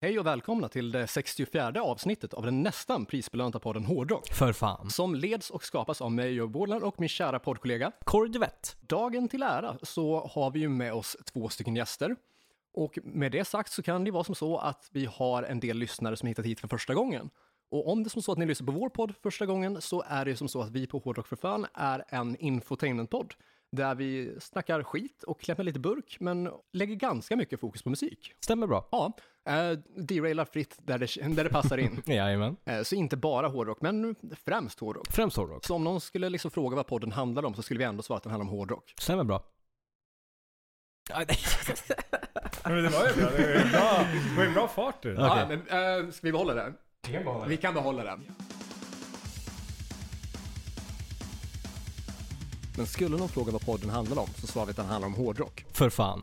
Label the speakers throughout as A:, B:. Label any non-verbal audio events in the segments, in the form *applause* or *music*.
A: Hej och välkomna till det 64 avsnittet av den nästan prisbelönta podden Hårdrock,
B: För fan.
A: som leds och skapas av mig, Joe Borland och min kära poddkollega.
B: Kordvett.
A: Dagen till ära så har vi ju med oss två stycken gäster. Och med det sagt så kan det ju vara som så att vi har en del lyssnare som hittat hit för första gången. Och om det är som så att ni lyssnar på vår podd första gången så är det ju som så att vi på Hårdrock för fan är en infotainmentpodd där vi snackar skit och klämmer lite burk men lägger ganska mycket fokus på musik.
B: Stämmer bra.
A: Ja, eh, derailar fritt där det, *laughs* där det passar in.
B: Jajamän.
A: Eh, så inte bara hårdrock, men främst hårdrock.
B: Främst hårdrock.
A: Så om någon skulle liksom fråga vad podden handlar om så skulle vi ändå svara att den handlar om hårdrock.
B: Stämmer bra. Aj, nej.
C: Ja, *laughs* Men det var ju bra. Det var ju bra, det var ju bra fart i det.
B: Okej.
A: Ja, men, eh, ska vi behålla den? Vi kan behålla den. Men skulle någon fråga vad podden handlar om så svarar vi att den handlar om hårdrock.
B: För fan.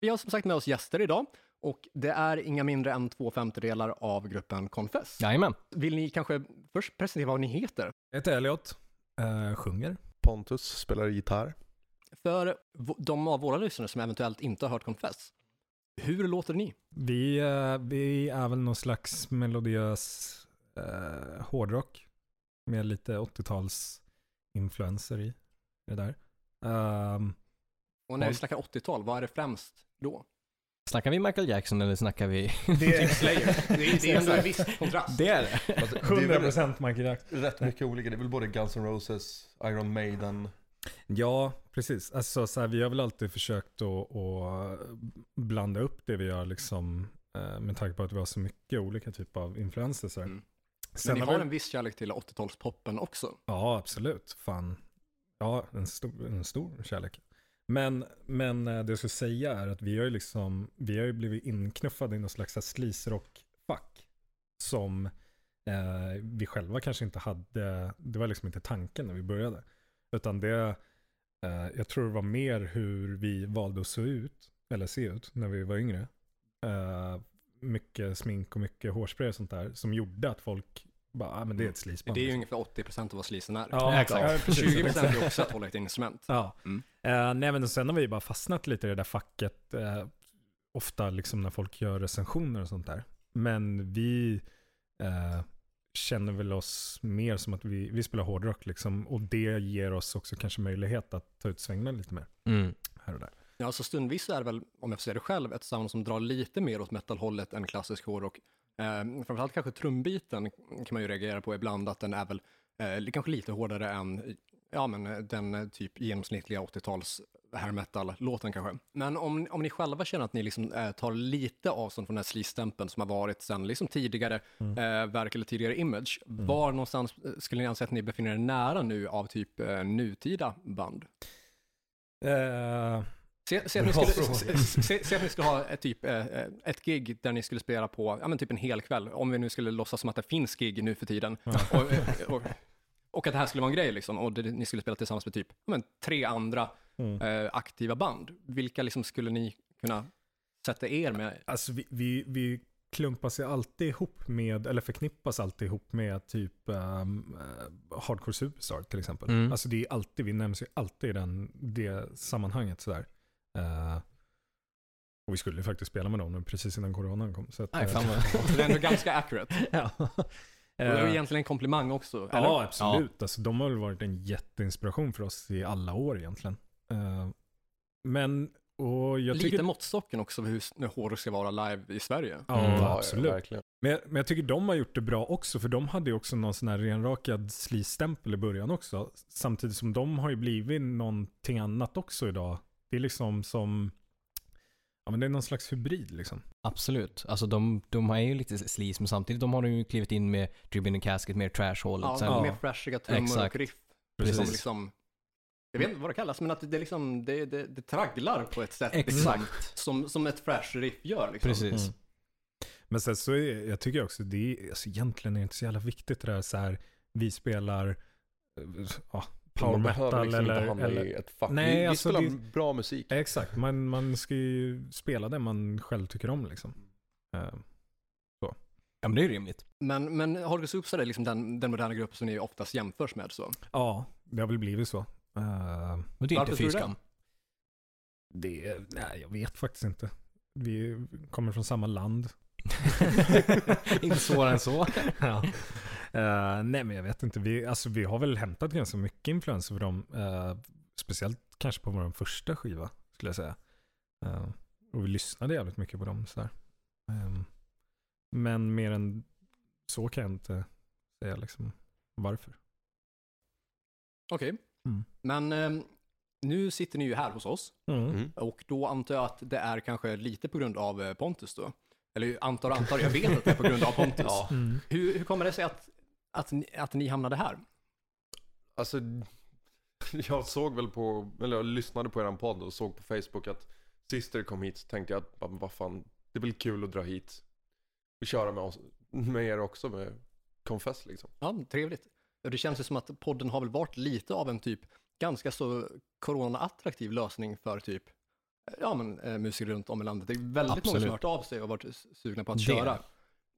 A: Vi har som sagt med oss gäster idag och det är inga mindre än två femtedelar av gruppen Confess.
B: Jajamän.
A: Vill ni kanske först presentera vad ni heter?
C: Jag heter Elliot, eh, sjunger.
D: Pontus spelar gitarr.
A: För v- de av våra lyssnare som eventuellt inte har hört Confess, hur låter ni?
C: Vi, eh, vi är väl någon slags melodiös eh, hårdrock med lite 80-tals influenser i det där. *laughs* Ehm,
A: Och när vi
C: Ja.
A: snackar 80-tal, vad är det främst då?
B: Snackar vi Michael Jackson eller snackar vi...
A: Typ Slayer. Det är, det är ändå en viss kontrast.
B: Det är det.
D: Alltså, det är väl
C: 100% Michael Jackson.
D: rätt mycket olika. Det är väl både Guns N' Roses, Iron Maiden.
C: Ja, precis. Alltså, så här, vi har väl alltid försökt att, att blanda upp det vi gör liksom, eh, med tanke på att vi har så mycket olika typer av influenser. Så här.
A: Mm.
C: Sen
A: Men ni
C: vi-
A: har en viss kärlek till 80-talspoppen också.
C: Ja, absolut. Fan. Ja, en stor, en stor kärlek. Men, men eh, det jag skulle säga är att vi har ju liksom, vi har ju blivit inknuffade i någon slags så här sleazerock-fack. Som eh, vi själva kanske inte hade, det var liksom inte tanken när vi började. Utan det, eh, jag tror det var mer hur vi valde att se ut, eller se ut, när vi var yngre. Eh, mycket smink och mycket hårspray och sånt där, som gjorde att folk bara, ah, men det är ett sleazeband.
A: Mm. Det är ju
C: liksom."
A: ungefär 80% av vad sleazen är.
C: Ja,
B: exakt.
C: ja, precis.
A: 20% är också att hålla ett instrument.
C: Ja.
A: Mm.
C: Eh, nej, men sen har vi ju bara fastnat lite i det där facket. eh, ofta liksom när folk gör recensioner och sånt där. Men vi eh, känner väl oss mer som att vi, vi spelar hårdrock liksom. Och det ger oss också kanske möjlighet att ta ut svängarna lite mer
B: Mm.
C: här och där.
A: Ja, så stundvis så är det väl, om jag får säga det själv, ett sound som drar lite mer åt metalhållet än klassisk hårdrock. Eh, framförallt kanske trumbiten kan man ju reagera på ibland, att den är väl eh, kanske lite hårdare än ja, men, eh, den eh, typ genomsnittliga 80-tals hair metal-låten kanske. Men om, om ni själva känner att ni liksom, eh, tar lite avstånd från den här sleaze-stämpeln som har varit sen liksom tidigare eh, verk eller tidigare image, var någonstans eh, skulle ni anse att ni befinner er nära nu av typ eh, nutida band?
C: Eh,
A: Se, se, att ni
D: Bra
A: skulle,
D: fråga.
A: se, se- se, se att ni skulle ha ett, typ, eh, eh, ett gig där ni skulle spela på ja, men typ en hel kväll, om vi nu skulle låtsas som att det finns gig nu för tiden. Och, eh, och, och att det här skulle vara en grej, liksom, och det, ni skulle spela tillsammans med typ ja, men tre andra eh, aktiva band. Vilka liksom skulle ni kunna sätta er med?
C: Alltså vi, vi, vi klumpas ju alltid ihop med, eller förknippas alltid ihop med typ ehm, eh, Hardcore Superstar till exempel.
B: Mm.
C: Alltså det är alltid, vi nämns ju alltid i den, det sammanhanget sådär. Eh, och vi skulle ju faktiskt spela med dem nu precis innan coronan kom. Så att,
B: Aj,
C: eh,
B: fan vad... *laughs*
A: Det är ändå ganska accurate.
C: ja.
A: Och det är ju
C: Eh,
A: egentligen en komplimang också. Eller?
C: ja, absolut. Alltså, de har väl varit en jätteinspiration för oss i alla år egentligen. Eh, men, och jag tycker...
A: Lite måttstocken också för hur, hur hårt det ska vara live i Sverige.
C: Ja,
B: Mm.
D: Ja, ja,
C: absolut.
D: verkligen.
C: Men jag, men jag tycker de har gjort det bra också, för de hade ju också någon sån här renrakad sleaze-stämpel i början också. Samtidigt som de har ju blivit någonting annat också idag. Det är liksom som, ja men det är någon slags hybrid liksom.
B: Absolut. Alltså de, de är ju lite sleaze, men samtidigt de har de ju klivit in med Dribbin and Casket, mer trash hållet.
A: Ja,
B: Sen-
A: Med fräschiga trummor och
B: Exakt.
A: riff. Som
B: Precis.
A: liksom jag vet inte vad det kallas, men att det, liksom, det, det, det tragglar på ett sätt. Liksom,
B: Exakt.
A: som, som ett fresh riff gör. Liksom.
B: Precis.
C: Mm. Men sen så är, jag tycker också, det är, alltså, egentligen är det inte så jävla viktigt det där så här, vi spelar eh, ja, power
D: man behöver
C: metal
D: liksom
C: eller,
D: inte hamna
C: eller
D: i ett fack.
C: Nej,
D: vi, vi
C: alltså,
D: spelar
C: det-
D: bra musik.
C: Exakt, man, man ska ju spela det man själv tycker om liksom. Eh,
B: Ja, men det är ju rimligt.
A: Men, men Holger Soups är liksom den, den moderna grupp som ni oftast jämförs med. Så.
C: ja, det har väl blivit så. Eh,
B: Men det är
A: Varför tror
B: inte fy
A: du det?
B: skam.
C: det, nej, jag vet faktiskt inte. Vi kommer från samma land.
B: *laughs* inte svårare än *laughs* så.
C: *laughs* ja. Eh, nej, men jag vet inte. Vi, alltså, vi har väl hämtat ganska mycket influenser från dem. eh, speciellt kanske på vår första skiva, skulle jag säga. Eh, och vi lyssnade jävligt mycket på dem. Sådär. Ehm, men mer än så kan jag inte säga liksom, varför.
A: Okej,
C: Mm.
A: men eh, nu sitter ni ju här hos oss
D: Mm.
A: och då antar jag att det är kanske lite på grund av eh, Pontus då. Eller antar och antar, jag vet att det är på grund av
B: *laughs*
A: Pontus.
D: Ja.
C: Mm.
A: Hur, hur kommer det sig att, att, ni, att ni hamnade här?
D: Alltså, *laughs* jag såg väl på, eller jag lyssnade på eran podd och såg på Facebook att Sister kom hit. Så tänkte jag att, "Ah, men vad fan, det blir kul att dra hit och köra med, oss, med er också med Confess liksom.
A: Ja, trevligt. Och Det känns ju som att podden har väl varit lite av en typ ganska så corona-attraktiv lösning för typ ja, men, eh, musiker runt om i landet. Det är väldigt många som
B: Absolut.
A: har hört av sig och varit s- sugna på att
B: Det.
A: köra.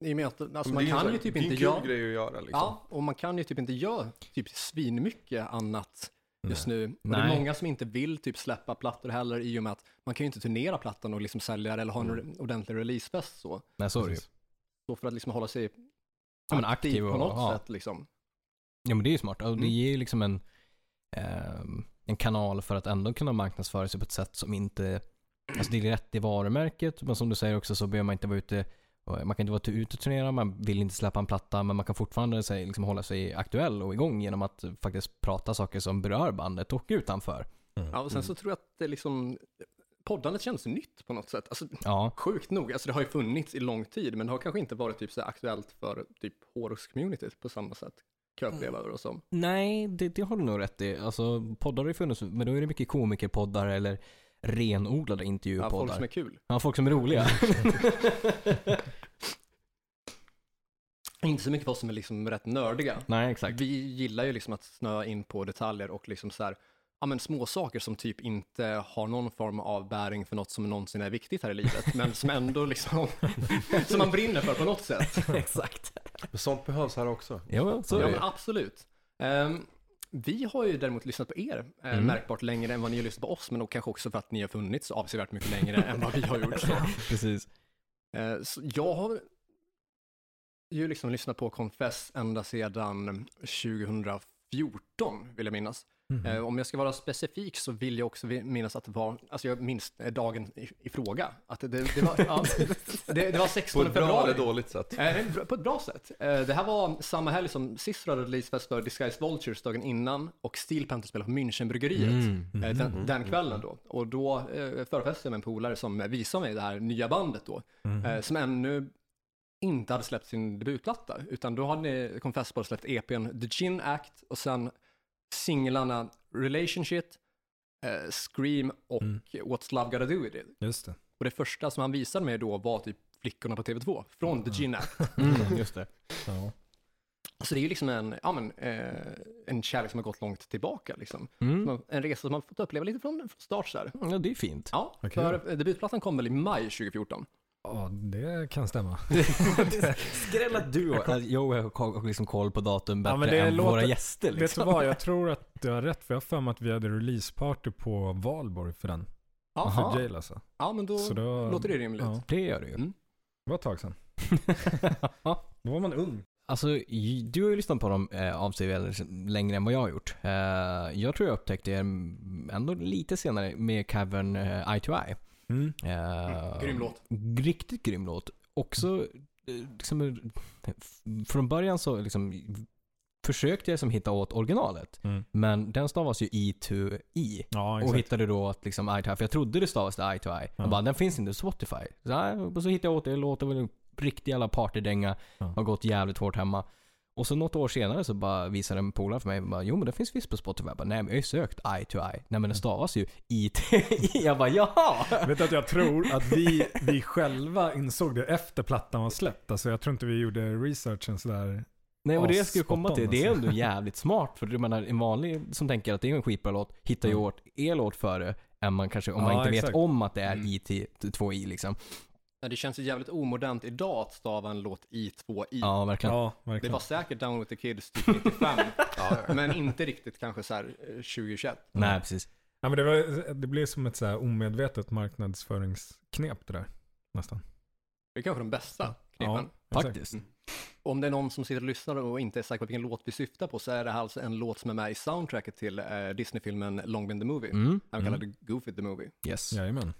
A: I och med att alltså,
D: Men
A: man
D: det är så
A: kan
D: här-
A: ju typ
D: det är
A: inte
D: en kul
A: göra...
D: grej att göra liksom.
A: Ja, och man kan ju typ inte göra typ svinmycket annat
D: Mm.
A: just nu. Och det är
B: Nej.
A: många som inte vill typ släppa plattor heller i och med att man kan ju inte turnera plattan och liksom sälja det eller ha en
D: Mm.
A: re- ordentlig releasefest så.
B: Nej, så är det ju.
C: Precis.
A: Så för att liksom hålla sig
B: Ja, men aktiv
A: på
B: och-
A: något
B: ja.
A: sätt liksom.
B: Ja, men det är ju smart. Och det
A: Mm.
B: ger ju liksom en, ehm, en kanal för att ändå kunna marknadsföra sig på ett sätt som inte... Alltså det är rätt i varumärket, men som du säger också så behöver man inte vara ute och- man kan inte vara ute och turnera, man vill inte släppa en platta, men man kan fortfarande sig, liksom, hålla sig aktuell och igång genom att faktiskt prata saker som berör bandet och utanför.
A: Ja, och sen så tror jag att det liksom, poddandet känns nytt på något sätt. Alltså,
B: Ja,
A: sjukt nog, alltså det har ju funnits i lång tid, men det har kanske inte varit typ så här aktuellt för typ Horus-communityt på samma sätt. Kan jag uppleva det som.
B: Nej, det, det har du nog rätt i. Alltså, poddar har ju funnits, men då är det mycket komikerpoddar eller renodlade
A: Ja,
B: intervjupoddar.
A: folk som är kul.
B: Ja, folk som
A: *laughs*
B: är roliga.
A: Inte så mycket folk som är liksom rätt nördiga.
B: Nej, exakt.
A: Vi gillar ju liksom att snöa in på detaljer och liksom så här, ja men små saker som typ inte har någon form av bäring för något som någonsin är viktigt här i livet, men som ändå
C: *laughs*
A: liksom, som man brinner för på något sätt.
B: exakt.
D: Men sånt behövs här också.
B: Ja, så är
A: Ja,
B: det
A: men
B: ju.
A: absolut. Ehm, vi har ju däremot lyssnat på er eh,
B: Mm.
A: märkbart längre än vad ni har lyssnat på oss, men då kanske också för att ni har funnits avsevärt mycket längre än vad vi har
B: *laughs*
A: gjort.
C: *laughs*
A: Så.
B: Precis.
A: Eh, så jag har ju liksom lyssnat på Confess ända sedan 2014, vill jag minnas.
C: Mm.
B: Mm.
A: Eh, om jag ska vara specifik så vill jag också vi- minnas att det var, alltså jag minns eh, dagen i, i fråga, att det, det,
B: *laughs*
A: var, ja, det, det var
D: På
A: 16
D: ett bra
A: februari.
D: eller dåligt sätt.
A: Eh, nej, bra- på ett bra sätt. Eh, Det här var samma helg som sist hade releasefest för Disguised Vultures dagen innan och Steel Panther spelade på Münchenbryggeriet
B: Mm.
A: eh, den, den kvällen då. Och då eh, förfestade jag med en polare som visade mig det här nya bandet då,
C: Mm.
B: Mm.
A: eh, som ännu inte hade släppt sin debutplatta, utan då hade Confess bara släppt EPn The Gin Act och sen singlarna Relationship, eh, Scream och
C: Mm.
A: What's Love Gotta Do With It.
C: Just det.
A: Och det första som han visade mig då var typ Flickorna på TV2 från The Gin Act.
C: *laughs*
B: Mm, just det.
C: Ja.
A: Så det är ju liksom en, ja, men, eh, en kärlek som har gått långt tillbaka. Liksom.
B: Mm.
A: Man- En resa som man fått uppleva lite från, från start. Så här.
B: Ja, det är fint.
A: Ja,
C: Vad kul.
A: för eh, debutplattan kom väl i maj 2014.
C: ja, det
A: *laughs*
C: kan stämma.
A: Liksom.
B: Skräll att du har jag har ko- liksom koll på datum bättre
C: Ja, men det
B: än
C: låter-
B: våra gäster.
C: Vet du
B: Liksom.
C: vad, jag tror att du har rätt. För jag har för mig att vi hade releaseparty på Valborg för den.
A: Aha.
C: För Jail alltså.
A: Ja, men då
C: Så då-
A: låter det rimligt.
C: Ja,
B: *laughs* Det gör du ju.
A: Mm.
C: det var ett tag sedan. Då var man ung.
B: Alltså, j- du har ju lyssnat på dem eh, avsevärt längre än vad jag har gjort. Eh, jag tror jag upptäckte er mm, ändå lite senare med Cavern eh, Eye to Eye.
C: Mm.
B: Eh,
A: Mm, grym låt.
B: Riktigt grym låt. Också, eh, liksom, eh, f- från början så liksom, försökte jag som hitta åt originalet.
C: Mm.
B: Men den stavas ju E2I.
C: Ja,
B: Och
C: exakt.
B: hittade då att liksom eye to eye, för jag trodde det stavas eye to eye.
C: Ja.
B: Jag bara, den finns inte på Spotify. Så, nej, och så hittade jag åt det, låten var en riktig jävla partydänga.
C: Ja.
B: Har gått jävligt hårt hemma. Och så något år senare så bara visade en polare för mig, bara, jo men det finns visst på Spotify. Jag bara, nej men jag har ju sökt eye to eye. Nej men det stavas ju IT. jag bara, jaha!
C: Vet du att jag tror att vi, vi själva insåg det efter plattan var släppt. Alltså jag tror inte vi gjorde researchen sådär.
B: Nej och det jag
C: As-
B: skulle komma till,
C: spot on,
B: det är
C: alltså.
B: ändå jävligt smart. För jag menar, en vanlig som tänker att det är en skitbra låt hittar ju
C: Mm.
B: åt er låt före än man kanske, om man
C: Ja,
B: inte vet
C: exakt.
B: om att det är E
A: Mm.
B: IT2i liksom.
A: Nej, Det känns ju jävligt omodernt idag att stava en låt i två i.
B: Ja, verkligen.
C: Ja,
A: Det
C: verkligen.
A: var säkert Down with the Kids typ 95,
D: Ja, ja.
A: men inte riktigt kanske så här eh, 2021.
B: Nej, precis.
C: Ja, men det, var, det blev som ett så här omedvetet marknadsföringsknep det där. Nästan.
A: Det är kanske de bästa knepen.
C: exakt. Mm.
B: Faktiskt.
A: Om det är någon som sitter och lyssnar och inte är säker på vilken låt vi syftar på så är det här alltså en låt som är med i soundtracket till eh, Disney-filmen Long Been the Movie.
B: Mm.
A: Även
C: Mm.
A: kallad Goofy the Movie.
B: Yes.
C: Jajamän.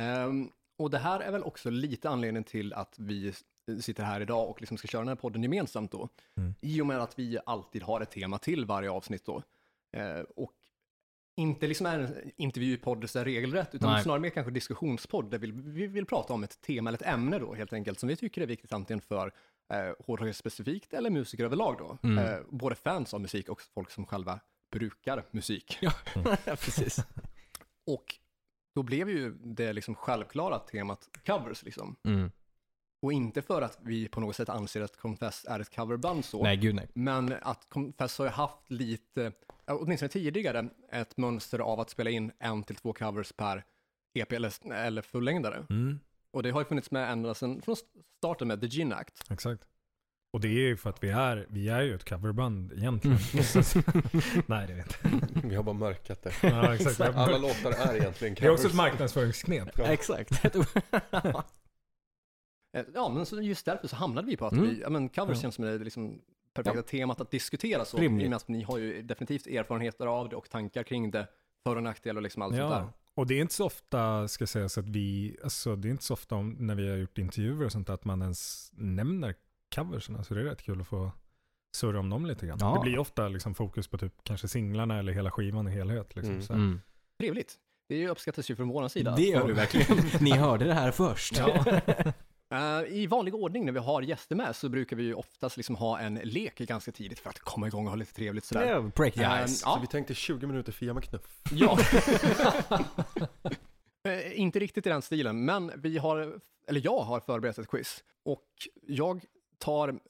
A: Ehm, och det här är väl också lite anledningen till att vi s- sitter här idag och liksom ska köra den här podden gemensamt då.
C: Mm.
A: I och med att vi alltid har ett tema till varje avsnitt då. Ehm, och inte liksom är en intervjupodd så här regelrätt, utan
B: Nej.
A: snarare mer kanske diskussionspodd där vi, vi vill prata om ett tema eller ett ämne då helt enkelt som vi tycker är viktigt antingen för eh, hårdrockare specifikt eller musiker överlag då.
B: Mm.
A: Eh, både fans av musik och folk som själva brukar musik.
B: precis.
A: Och då blev ju det liksom självklara temat covers liksom.
B: *laughs* Mm.
A: Och inte för att vi på något sätt anser att Confess är ett coverband så,
B: Nej, gud nej.
A: men att Confess har ju haft lite, åtminstone tidigare, ett mönster av att spela in en till två covers per EP eller, eller fullängdare.
C: Mm,
A: Och det har ju funnits med ända sedan från starten med The Gin Act.
C: exakt. Och det är ju för att vi är, vi är ju ett coverband egentligen. *laughs* *laughs* Nej, det vet jag inte.
D: *laughs* Vi har bara mörkat det.
C: Ja, exakt.
D: *laughs* Alla låtar är egentligen
C: Det är också
D: covers.
C: ett marknadsföringsknep.
B: *laughs*
D: Ja.
B: Exakt.
C: *laughs*
A: Eh, Ja, men så just därför så hamnade vi på att
B: Mm.
A: vi, ja, men covers
C: Ja.
A: känns som det liksom perfekta temat att diskutera så,
B: Rimligt.
A: i och med att ni har ju definitivt erfarenheter av det och tankar kring det, för och nackdelar och liksom allt sånt där.
C: Ja. Och det är inte så ofta, ska sägas, att vi, alltså det är inte så ofta om, när vi har gjort intervjuer och sånt där, att man ens nämner coversen. Så det är rätt kul att få surra om dem lite grann.
B: Ja.
C: Det blir ofta liksom fokus på typ kanske singlarna eller hela skivan i helhet. Liksom,
D: Mm.
C: så här.
B: Mm.
A: Trevligt. Det uppskattas ju från vår sida.
B: Det gör du
A: *laughs*
C: *laughs*
B: verkligen. Ni hörde det här först. *laughs*
C: Ja.
A: Eh, I vanlig ordning när vi har gäster med så brukar vi ju oftast liksom ha en lek ganska tidigt för att komma igång och ha lite trevligt sådär.
B: Yeah, break the
A: Eh,
B: ice.
D: Så
A: ja.
D: vi tänkte 20 minuter Fia med knuff.
B: *laughs*
A: Ja. Eh, Inte riktigt i den stilen, men vi har, eller jag har förberett ett quiz. Och jag tar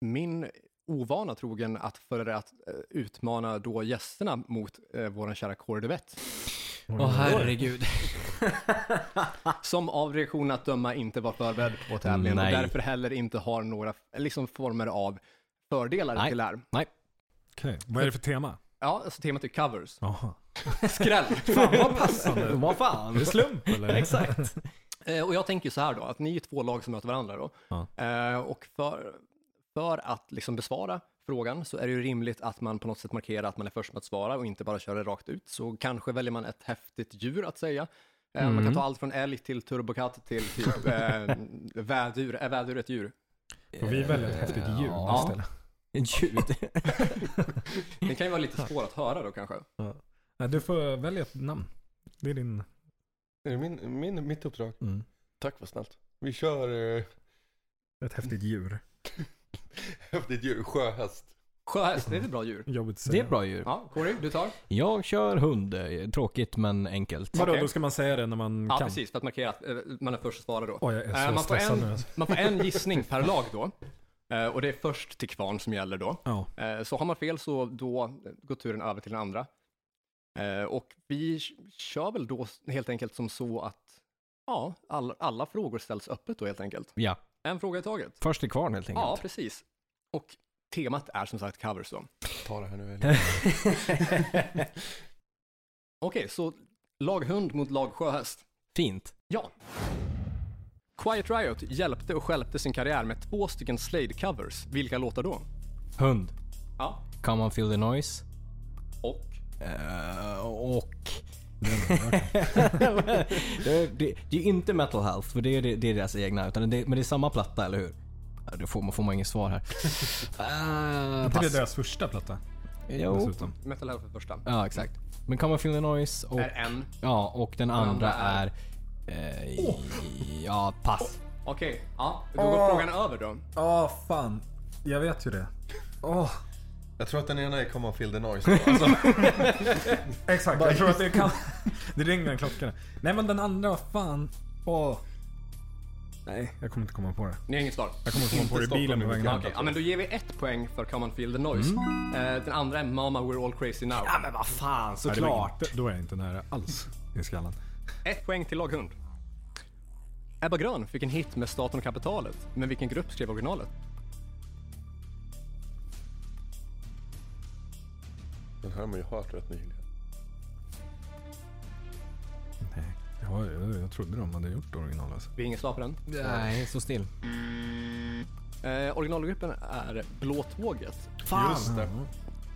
A: min ovana trogen att föredra att eh, utmana då gästerna mot eh, vår kära Kåre Duvett.
C: Mm.
B: Åh *laughs* herregud.
A: Som av reaktionen att döma inte var förberedd på tävlingen och
B: Nej.
A: därför heller inte har några liksom, former av fördelar
B: Nej.
A: till här.
C: Okej. Vad är det för tema?
A: Ja, alltså temat är covers.
C: Jaha.
A: Skräll!
C: Fan vad passande.
B: Vad fan.
C: Är det slump *laughs* eller?
B: Exakt.
A: Eh, och jag tänker så här då, att ni är två lag som möter varandra då.
C: Ja.
A: Eh, och för, för att liksom besvara frågan så är det ju rimligt att man på något sätt markerar att man är först med att svara och inte bara kör det rakt ut. Så kanske väljer man ett häftigt djur att säga. Eh, Man kan
B: Mm.
A: ta allt från älg till turbokatt till typ eh, vädur. Är vädur ett djur?
C: Får vi välja ett häftigt ljud
B: Ja.
C: istället?
B: Ljud.
A: Det kan ju vara lite svårt att höra då kanske.
C: Nej, du får välja ett namn. Det är din...
D: Är det min, min, mitt uppdrag?
C: Mm.
D: Tack vad snällt. Vi kör eh,
C: Ett häftigt djur.
D: *laughs* häftigt eh, djur, sjöhäst.
A: Sjöhäst, det är ett bra djur.
C: Jobbigt att
B: Det
C: säga.
B: är ett bra djur.
A: Ja, Kåre, du tar.
B: Jag kör hund. Eh, Tråkigt men enkelt.
C: Vadå,
A: Okej.
C: då ska man säga det när man
A: Ja,
C: kan?
A: precis, för att markera att eh, man är först att svara då.
C: Oj, jag är
A: Eh,
C: så
A: man får
C: stressad
A: en-
C: nu alltså.
A: Man får en gissning per lag då. Eh, Och det är först till kvarn som gäller då.
C: Ja.
A: Eh, Så har man fel så då går turen över till den andra. Eh, Och vi kör väl då helt enkelt som så att ja, all, alla frågor ställs öppet då helt enkelt.
B: Ja,
A: En fråga i taget.
B: först till kvarn helt
A: Ja,
B: enkelt.
A: precis. Och temat är som sagt covers då.
D: Ta det här nu. Elin.
A: Okej, så lag hund mot lag sjöhäst.
B: *laughs* Fint.
A: Ja. Quiet Riot hjälpte och stjälpte sin karriär med två stycken Slade-covers. Vilka låtar då?
B: Hund.
A: Ja.
B: Come on feel the noise.
A: Och?
B: Eh,
C: *laughs*
B: och... det, det, det är ju inte mental health, för det är, det, det är deras egna. Utan det, men det är samma platta, eller hur? Ja, Då får man, får man inget
C: *laughs*
B: svar här. Uh,
C: Det är
B: pass.
C: deras första platta.
B: Jo.
C: Dessutom.
A: Metal Health för första.
B: Ja, exakt. Men Come on feel the noise och,
A: Är en.
B: ja, och den andra
A: andra är-
B: Äh. är... eh, Ja, pass.
A: Okej, ja. Då går frågan över då.
C: Ja, fan. Jag vet ju det. Åh,
D: Jag tror att den ena är Come on feel the *laughs* noise då, alltså.
C: exakt. Jag tror att det kan... *laughs* det ringer en klocka. Nej men den andra, vad fan. Åh. Nej, jag kommer inte komma på det.
A: Ni har inget svar?
C: Jag kommer komma på det i bilen på vägen
A: Ja,
C: hem.
A: Okej, ja, men då ger vi ett poäng för Come and Feel the Noise. Eh, den andra är Mama We're All Crazy Now.
B: men vad fan,
C: Nej, det var inte- Då är jag inte nära alls i skallen.
A: Ett poäng till laghund. Ebba Grön fick en hit med Staten och kapitalet, men vilken grupp skrev originalet?
D: Den här har man ju hört rätt nyligen.
C: Nej. Ja, jag, jag trodde de hade gjort original alltså.
A: Vi har inget svar på den.
B: Nej, så *laughs* still.
A: Eh, originalgruppen är Blåtåget.
D: Just det.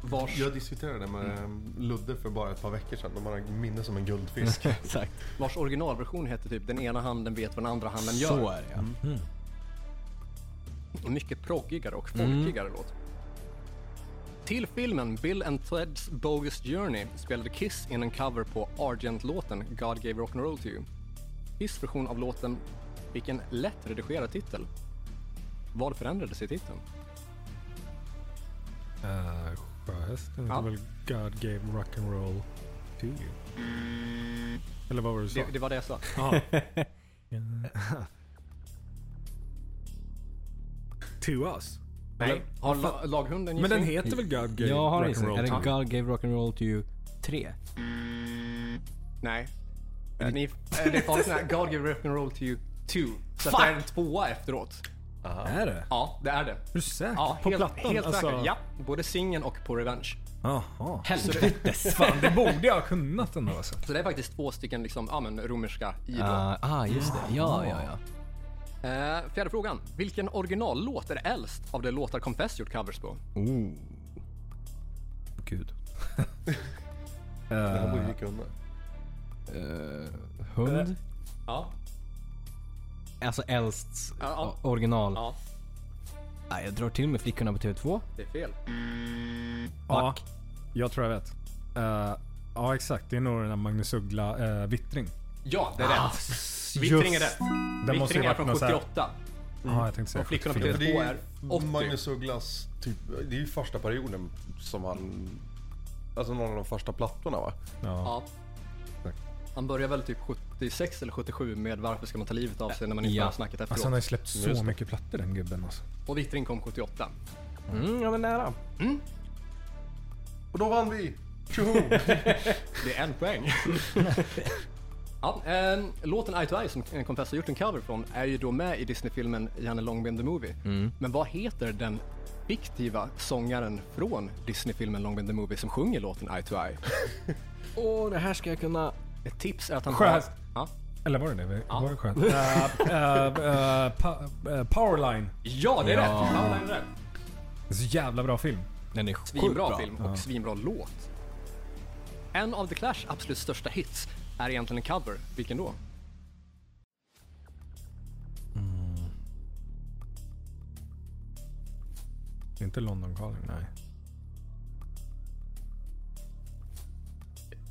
A: Vars...
D: Jag diskuterade det med eh, Ludde för bara ett par veckor sedan. De har minne som en guldfisk.
B: Exakt.
A: Vars originalversion hette typ Den ena handen vet vad den andra handen gör.
B: Så är det Mm. ja.
A: Mycket proggigare och
C: Mm.
A: folkigare låt. Till filmen Bill and Ted's Bogus Journey spelade Kiss in en cover på Argent-låten God Gave Rock'n'Roll To You. Kiss version av låten fick en lätt redigerad titel. Vad förändrades i titeln?
C: Uh, Sjöhästen
A: Ja.
C: heter väl God gave rock'n'roll to you? Eller vad var det du sa?
A: Det, det var det jag sa.
C: *laughs* Ja. to us?
A: Nej. Har la, laghunden
C: Men den
A: gissning?
C: heter väl God gave
B: Jag har gissning. Är
C: rock'n'roll
B: det
C: to you?
B: God gave rock'n'roll to you 3?
A: Nej. Eh, Ni, eh, det var sån här God Gave Rock'n'Roll To You 2. Så att det är en tvåa efteråt.
C: Är det?
A: Ja, det är det.
C: Är du säker?
A: Ja,
C: på
A: helt,
C: plattan?
A: Helt
C: alltså.
A: säkert. Ja, både singeln och på Revenge.
C: Jaha.
B: Helvetes.
C: Fan, det borde jag ha kunnat ändå alltså.
A: Så det är faktiskt två stycken liksom, ja, men, romerska i då.
B: Ah, ah, just det. Ja, ja, ja.
A: Eh, fjärde frågan. Vilken originallåt är äldst av de låtar Confess gjort covers på?
B: Oh. Gud.
D: Den här borde vi kunna.
B: Eh, hund?
A: Ja.
B: Alltså äldst
A: Ja, ja.
B: original.
A: Ja,
B: Ah, jag drar till med Flickorna på TV2.
A: det är fel.
C: Ja, jag tror jag vet. Eh, ja, exakt. Det är nog den där Magnus Uggla eh, Vittring.
A: Ja, det är rätt. Ah, Vittring är rätt.
C: Den måste ju
A: Vittring är
C: varit
A: från
C: någon så här-
A: 78.
C: Ja, jag tänkte säga.
A: Och Flickorna på
C: 74.
D: Ja, för
A: TV2
D: det är
A: är
D: ju
A: 80.
D: Magnus Ugglas, typ, det är ju första perioden som han... Alltså någon av de första plattorna va?
C: Ja.
A: Ja. Han börjar väl typ 76 eller 77 med Varför ska man ta livet av sig när man inte
B: Ja.
A: har snacket efteråt.
C: Alltså han har ju släppt
D: Just
C: så
D: det.
C: mycket plattor den gubben alltså.
A: Och Vittring kom 78.
B: Mm, ja men nära.
D: Och då vann vi! Tjoho!
A: Det är en poäng. *laughs* ja, ehm, låten Eye to Eye som Confess har gjort en cover från är ju då med i Disney-filmen Janne Långben the Movie. Men vad heter den fiktiva sångaren från Disney-filmen Långben the Movie som sjunger låten Eye to Eye?
B: Åh, det här ska jag kunna...
A: Ett tips är att han
C: Sjöhäst.
A: har... Ja.
C: Eller var det det? Var det skönt? Eh, eh, eh, pa- eh, Powerline.
A: ja, det är rätt! Ja, det är rätt.
C: Det är Så jävla bra film.
B: Den är sjukt
A: Svinbra
B: bra.
A: film och svinbra låt. En av The Clash absolut största hits är egentligen en cover. Vilken då?
C: Det är inte London Calling, nej.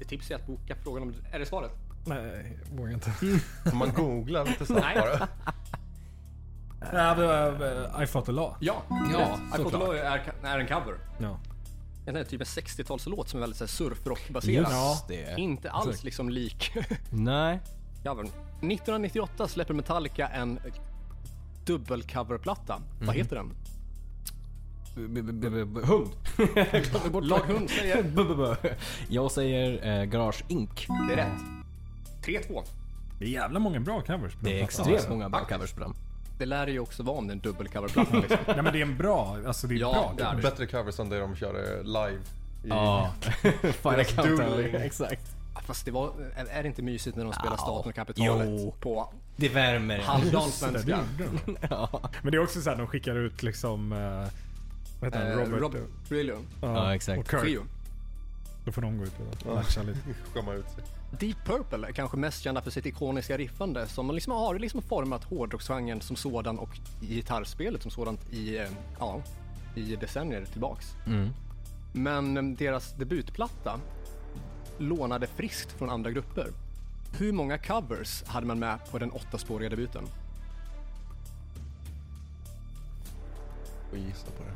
A: Ett tips är att boka frågan om... Är det svaret?
C: Nej, jag vågar *laughs* inte.
D: Om man googlar lite snabbt bara.
C: eh, I fought a law.
A: Ja,
B: Ja,
A: ja I Fought
B: såklart.
A: Alone är, är en cover.
C: Ja.
A: Den är typ en 60-talslåt som är väldigt så här surfrockbaserad.
B: Just
A: Ja.
B: det.
A: Inte alls liksom lik *laughs*
B: Nej.
A: covern. 1998 släpper Metallica en dubbelcoverplatta.
B: Mhm.
A: Vad heter den?
B: B- b- b- b- Hund.
A: Lag Hund säger...
B: B- b- b- *laughs* Jag säger eh, Garage Inc.
A: Det är rätt. 3-2.
C: Det är jävla många bra covers på den
B: Det är
C: plattan,
B: extremt
C: alltså.
B: många bra covers på den.
A: Det lär det ju också vara om det är en dubbelcoverplatta
B: *laughs*
A: liksom.
C: Nej men det är en bra, alltså det är
A: Ja,
C: bra.
A: det är det.
D: Bättre covers än det de körde live. I,
B: Ja. *laughs* Final
D: Dueling.
B: Countdown. Exakt.
A: Ja, Fast det var... är- Är det inte mysigt när de spelar
B: Ja.
A: Staten och Kapitalet
B: Jo.
A: på
B: Det värmer. *laughs*
A: halvdan
C: Just det,
A: svenska?
C: det gjorde de. Men det är också så här, de skickar ut liksom... Uh, vad heter han?
A: Eh,
C: Robert?
A: Rob Trillo.
C: ja,
B: Ja, exakt.
C: Och Kirk.
A: Trio.
C: Då får de gå ut och latcha lite.
D: Skämma ut sig.
A: Deep Purple är kanske mest kända för sitt ikoniska riffande som liksom har liksom format hårdrocksgenren som sådan och gitarrspelet som sådant i, eh, ja, i decennier tillbaks.
B: Mm.
A: Men eh, deras debutplatta lånade friskt från andra grupper. Hur många covers hade man med på den åttaspåriga debuten?
D: Och gissa på det.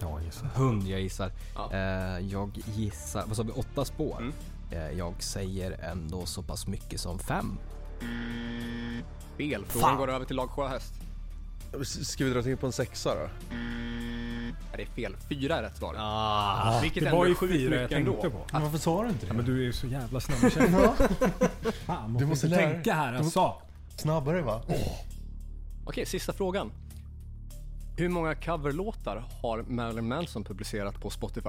C: Ja, gissa.
B: Hund jag gissar.
A: Ja.
B: Eh, jag gissar, vad sa vi, åtta spår?
A: Mm.
B: Eh, jag säger ändå så pass mycket som fem.
A: Fel. Frågan
B: Fan.
A: går över till lag Sjöhäst.
D: Ska vi dra till på en sexa då?
A: Nej, det är fel. Fyra är rätt svar.
B: Ah.
A: Vilket
C: Det
A: ändå
C: var
A: är
C: ju
A: sjukt
C: fyra jag
A: mycket ändå.
C: tänkte på.
E: Men varför sa du inte det?
C: Ja, men du är ju så
E: *laughs*
C: jävla snabb i käften. Fan, måste,
E: måste
C: inte
E: lära dig.
C: tänka här
E: Du måste-
C: alltså.
E: Snabbare va?
A: Okej, sista frågan. Hur många coverlåtar har Marilyn Manson publicerat på Spotify?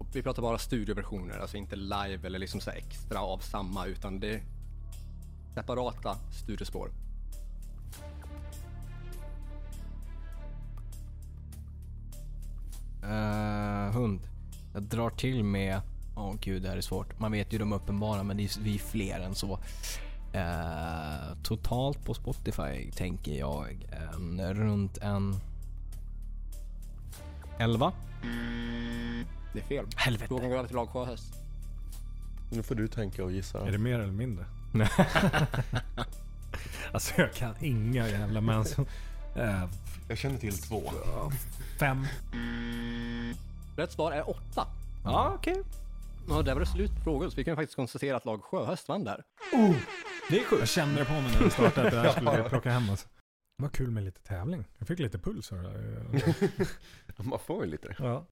A: Och vi pratar bara studioversioner, alltså inte live eller liksom så här extra av samma, utan det är separata studiospår.
B: Eh, hund. Jag drar till med, åh gud det här är svårt. Man vet ju de uppenbara men det är, vi är fler än så. Eh, totalt på Spotify tänker jag en, runt en... 11?
A: Det är fel.
B: Helvete.
A: Frågan går över till lag Sjöhäst.
D: Nu får du tänka och gissa.
C: Är det mer eller mindre? *laughs* alltså jag kan inga jävla Manson. Eh,
D: Jag känner till två.
C: fem.
A: Rätt svar är åtta.
B: Ja, okej.
A: Ja, där var det slut på frågor, så vi kan faktiskt konstatera att lag Sjöhäst vann där.
C: Det är sjukt. Jag kände det på mig när vi startade att *laughs* det här skulle vi plocka hem oss. Vad kul med lite tävling. Jag fick lite puls av det här.
D: *laughs* Man får ju lite det.
C: ja.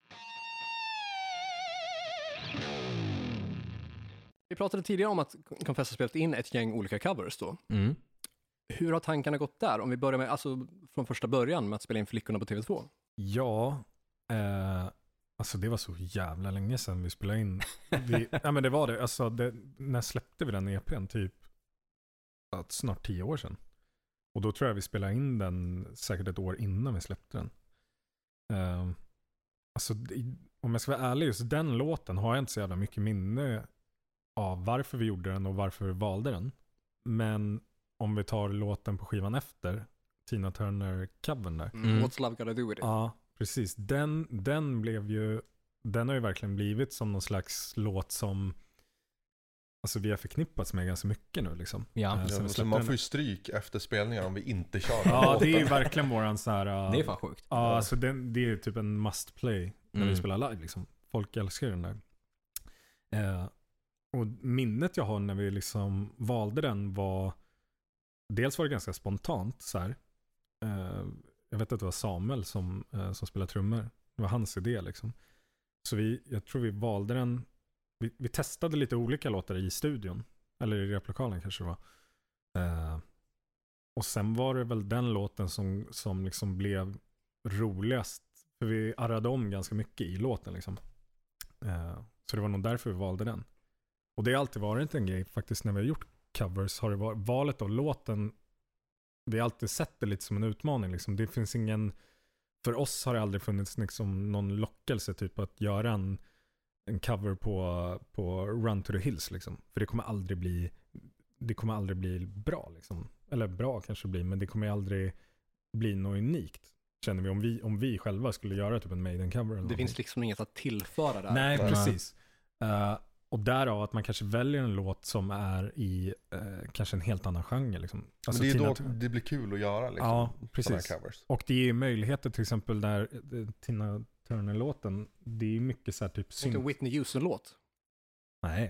A: Vi pratade tidigare om att Confessor spelat in ett gäng olika covers då.
B: Mm.
A: Hur har tankarna gått där? Om vi börjar med, alltså från första början med att spela in Flickorna på TV2.
C: Ja, eh, alltså det var så jävla länge sedan vi spelade in. Vi, ja men det var det. Alltså det, när släppte vi den EPn? Typ att snart tio år sedan. Och då tror jag vi spelade in den säkert ett år innan vi släppte den. Eh, alltså det, om jag ska vara ärlig, just den låten har jag inte så jävla mycket minne av varför vi gjorde den och varför vi valde den. Men om vi tar låten på skivan efter, Tina Turner-covern där.
B: Mm.
A: What's Love Gotta Do With It?
C: Ja, precis. Den, den blev ju, den har ju verkligen blivit som någon slags låt som alltså vi har förknippats med ganska mycket nu liksom.
B: Ja,
C: Eh, sen vi
D: Så
C: släppte
D: man
C: den.
D: får ju stryk efter spelningar om vi inte kör
C: Ja, det är ju verkligen våran så här... eh,
B: det är fan sjukt.
C: Ja, alltså den, det är ju typ en must play när
B: Mm.
C: vi spelar live liksom. Folk älskar ju den där. Eh, och minnet jag har när vi liksom valde den var, dels var det ganska spontant så här. Eh, jag vet att det var Samuel som, eh, som spelade trummor. Det var hans idé liksom. Så vi, jag tror vi valde den, vi, vi testade lite olika låtar i studion. Eller i replokalen kanske det var. Eh, och sen var det väl den låten som, som liksom blev roligast. För vi arrade om ganska mycket i låten liksom. Eh, så det var nog därför vi valde den. Och det har alltid varit en grej faktiskt när vi har gjort covers. Har det varit, valet av låten, vi har alltid sett det lite som en utmaning liksom. Det finns ingen, för oss har det aldrig funnits liksom någon lockelse typ att göra en, en cover på, på Run to the Hills liksom. För det kommer aldrig bli, det kommer aldrig bli bra liksom. Eller bra kanske det blir, men det kommer ju aldrig bli något unikt. Känner vi om vi, om vi själva skulle göra typ en Maiden-cover eller
A: Det
C: någonting.
A: finns liksom inget att tillföra där.
C: Nej,
B: Nej.
C: precis. Eh, och därav att man kanske väljer en låt som är i eh, kanske en helt annan genre. Liksom. Alltså
D: Men det är
C: Tina
D: ju då
C: Turner.
D: det blir kul att göra liksom.
C: Ja,
D: sådana
C: precis.
D: här covers.
C: Och det är möjligheter till exempel där eh, Tina Turner-låten, det är mycket så här typ
A: Inte
C: synt.
A: en Whitney Houston-låt.
C: Nej,